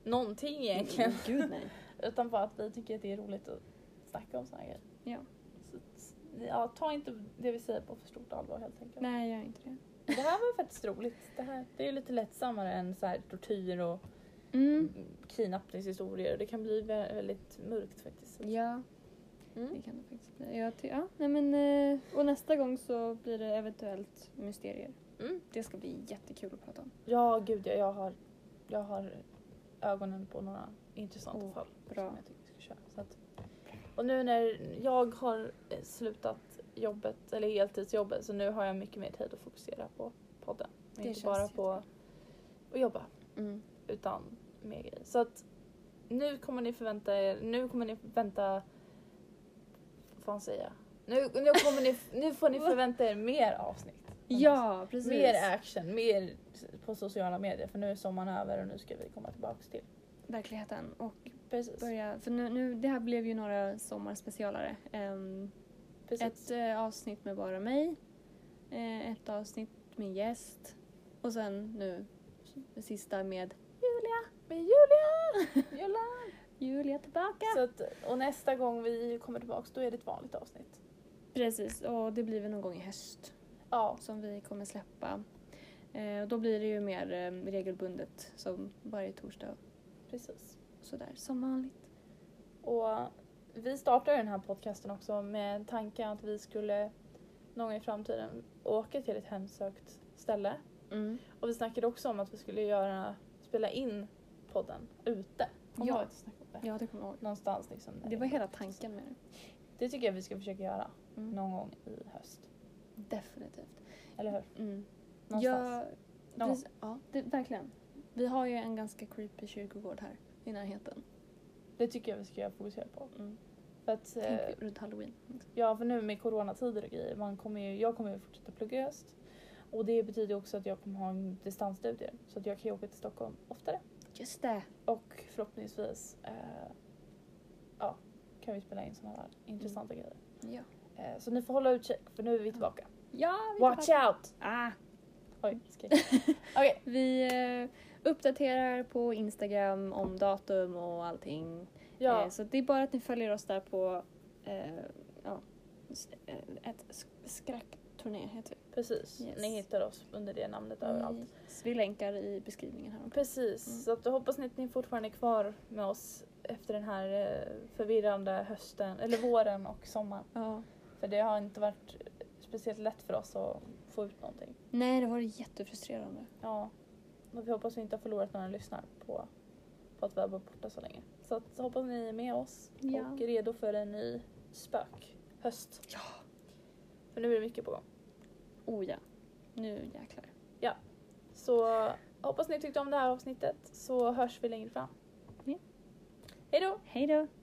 A: någonting egentligen.
B: Mm, Gud nej.
A: *laughs* Utan bara att vi tycker att det är roligt att snacka om såna här grejer.
B: Ja.
A: Så att, ja, ta inte det vi säger på för stort allvar helt enkelt.
B: Nej, jag gör inte det.
A: Det här var faktiskt roligt. Det, här, det är lite lättsammare än så här tortyr och
B: Mm.
A: kidnappningshistorier. Det kan bli vä- väldigt mörkt faktiskt.
B: Ja, det
A: Mm.
B: kan det faktiskt bli. Jag ty- ja, nej men, eh, och nästa gång så blir det eventuellt mysterier.
A: Mm.
B: Det ska bli jättekul att prata om.
A: Ja, gud ja, jag har, jag har ögonen på några intressanta
B: Oh,
A: fall
B: bra.
A: som jag tycker vi ska köra. Så att, och nu när jag har eh, slutat jobbet, eller heltidsjobbet, så nu har jag mycket mer tid att fokusera på podden. Och
B: Det
A: inte
B: känns
A: bara på att jobba,
B: Mm.
A: utan mer grejer. Så att nu kommer ni förvänta er, nu kommer ni vänta, vad fan säger jag? Nu, nu, kommer ni, nu får
B: *laughs*
A: ni förvänta er mer avsnitt.
B: Ja, precis.
A: Mer action, mer på sociala medier för nu är sommaren över och nu ska vi komma tillbaks till.
B: Verkligheten. Och
A: Precis.
B: börja, för nu, nu, det här blev ju några sommarspecialare. Ehm,
A: Precis.
B: Ett eh, avsnitt med bara mig, eh, ett avsnitt med gäst och sen nu det sista med Julia.
A: Med Julia! Julia!
B: Julia tillbaka.
A: Så att, och nästa gång vi kommer tillbaks då är det ett vanligt avsnitt.
B: Precis, och det blir väl någon gång i höst
A: Ja,
B: som vi kommer släppa. Eh, och då blir det ju mer eh, regelbundet som varje torsdag
A: precis.
B: sådär som vanligt.
A: Och vi startade den här podcasten också med tanken att vi skulle någon gång i framtiden åka till ett hemsökt ställe.
B: Mm.
A: Och vi snackade också om att vi skulle göra, spela in podden ute. Kommer du
B: Ja.
A: ihåg att vi snackade om det?
B: Ja, det kommer jag ihåg.
A: Någonstans liksom. där
B: Det var
A: i-
B: hela tanken med det.
A: Det tycker jag vi ska försöka göra
B: Mm.
A: någon gång i höst.
B: Definitivt.
A: Eller hur?
B: Mm.
A: Någonstans.
B: Ja,
A: Någon
B: precis, ja det, verkligen. Vi har ju en ganska creepy kyrkogård här i närheten.
A: Det tycker jag vi ska fokusera på.
B: Mm.
A: För att, eh,
B: Tänk runt halloween.
A: ja, för nu med coronatider och grejer, man kommer ju, jag kommer ju fortsätta plugga i höst. Och det betyder också att jag kommer ha en distansstudier så att jag kan ju åka till Stockholm oftare.
B: Just det!
A: Och förhoppningsvis eh, ja, kan vi spela in sådana här intressanta grejer.
B: Ja.
A: Eh, så ni får hålla utkik för nu är vi tillbaka.
B: Mm. Ja, vi
A: Watch out!
B: *laughs* Ah.
A: Oj,
B: *laughs*
A: skrik. Okej,
B: Vi eh, uppdaterar på Instagram om datum och allting.
A: ja.
B: Eh, så det är bara att ni följer oss där på eh, ja, s- eh, ett sk- skräckturné heter vi.
A: Precis,
B: Yes. Mm.
A: ni hittar oss under det namnet överallt.
B: Så vi länkar i beskrivningen här.
A: Precis,
B: Mm.
A: så att då hoppas ni att ni fortfarande är kvar med oss efter den här eh, förvirrande hösten, eller våren och sommaren.
B: Ja.
A: För det har inte varit speciellt lätt för oss att få ut någonting.
B: Nej, det var jättefrustrerande.
A: Ja, och vi hoppas vi inte har förlorat några lyssnare på, på att vi har varit borta så länge. Så att, så hoppas ni är med oss
B: Ja.
A: och är redo för en ny spökhöst.
B: Ja.
A: För nu är det mycket på gång.
B: Oh ja. Nu jäklar.
A: Så hoppas ni tyckte om det här avsnittet så hörs vi längre fram.
B: Ja.
A: Hej då!
B: Hej då!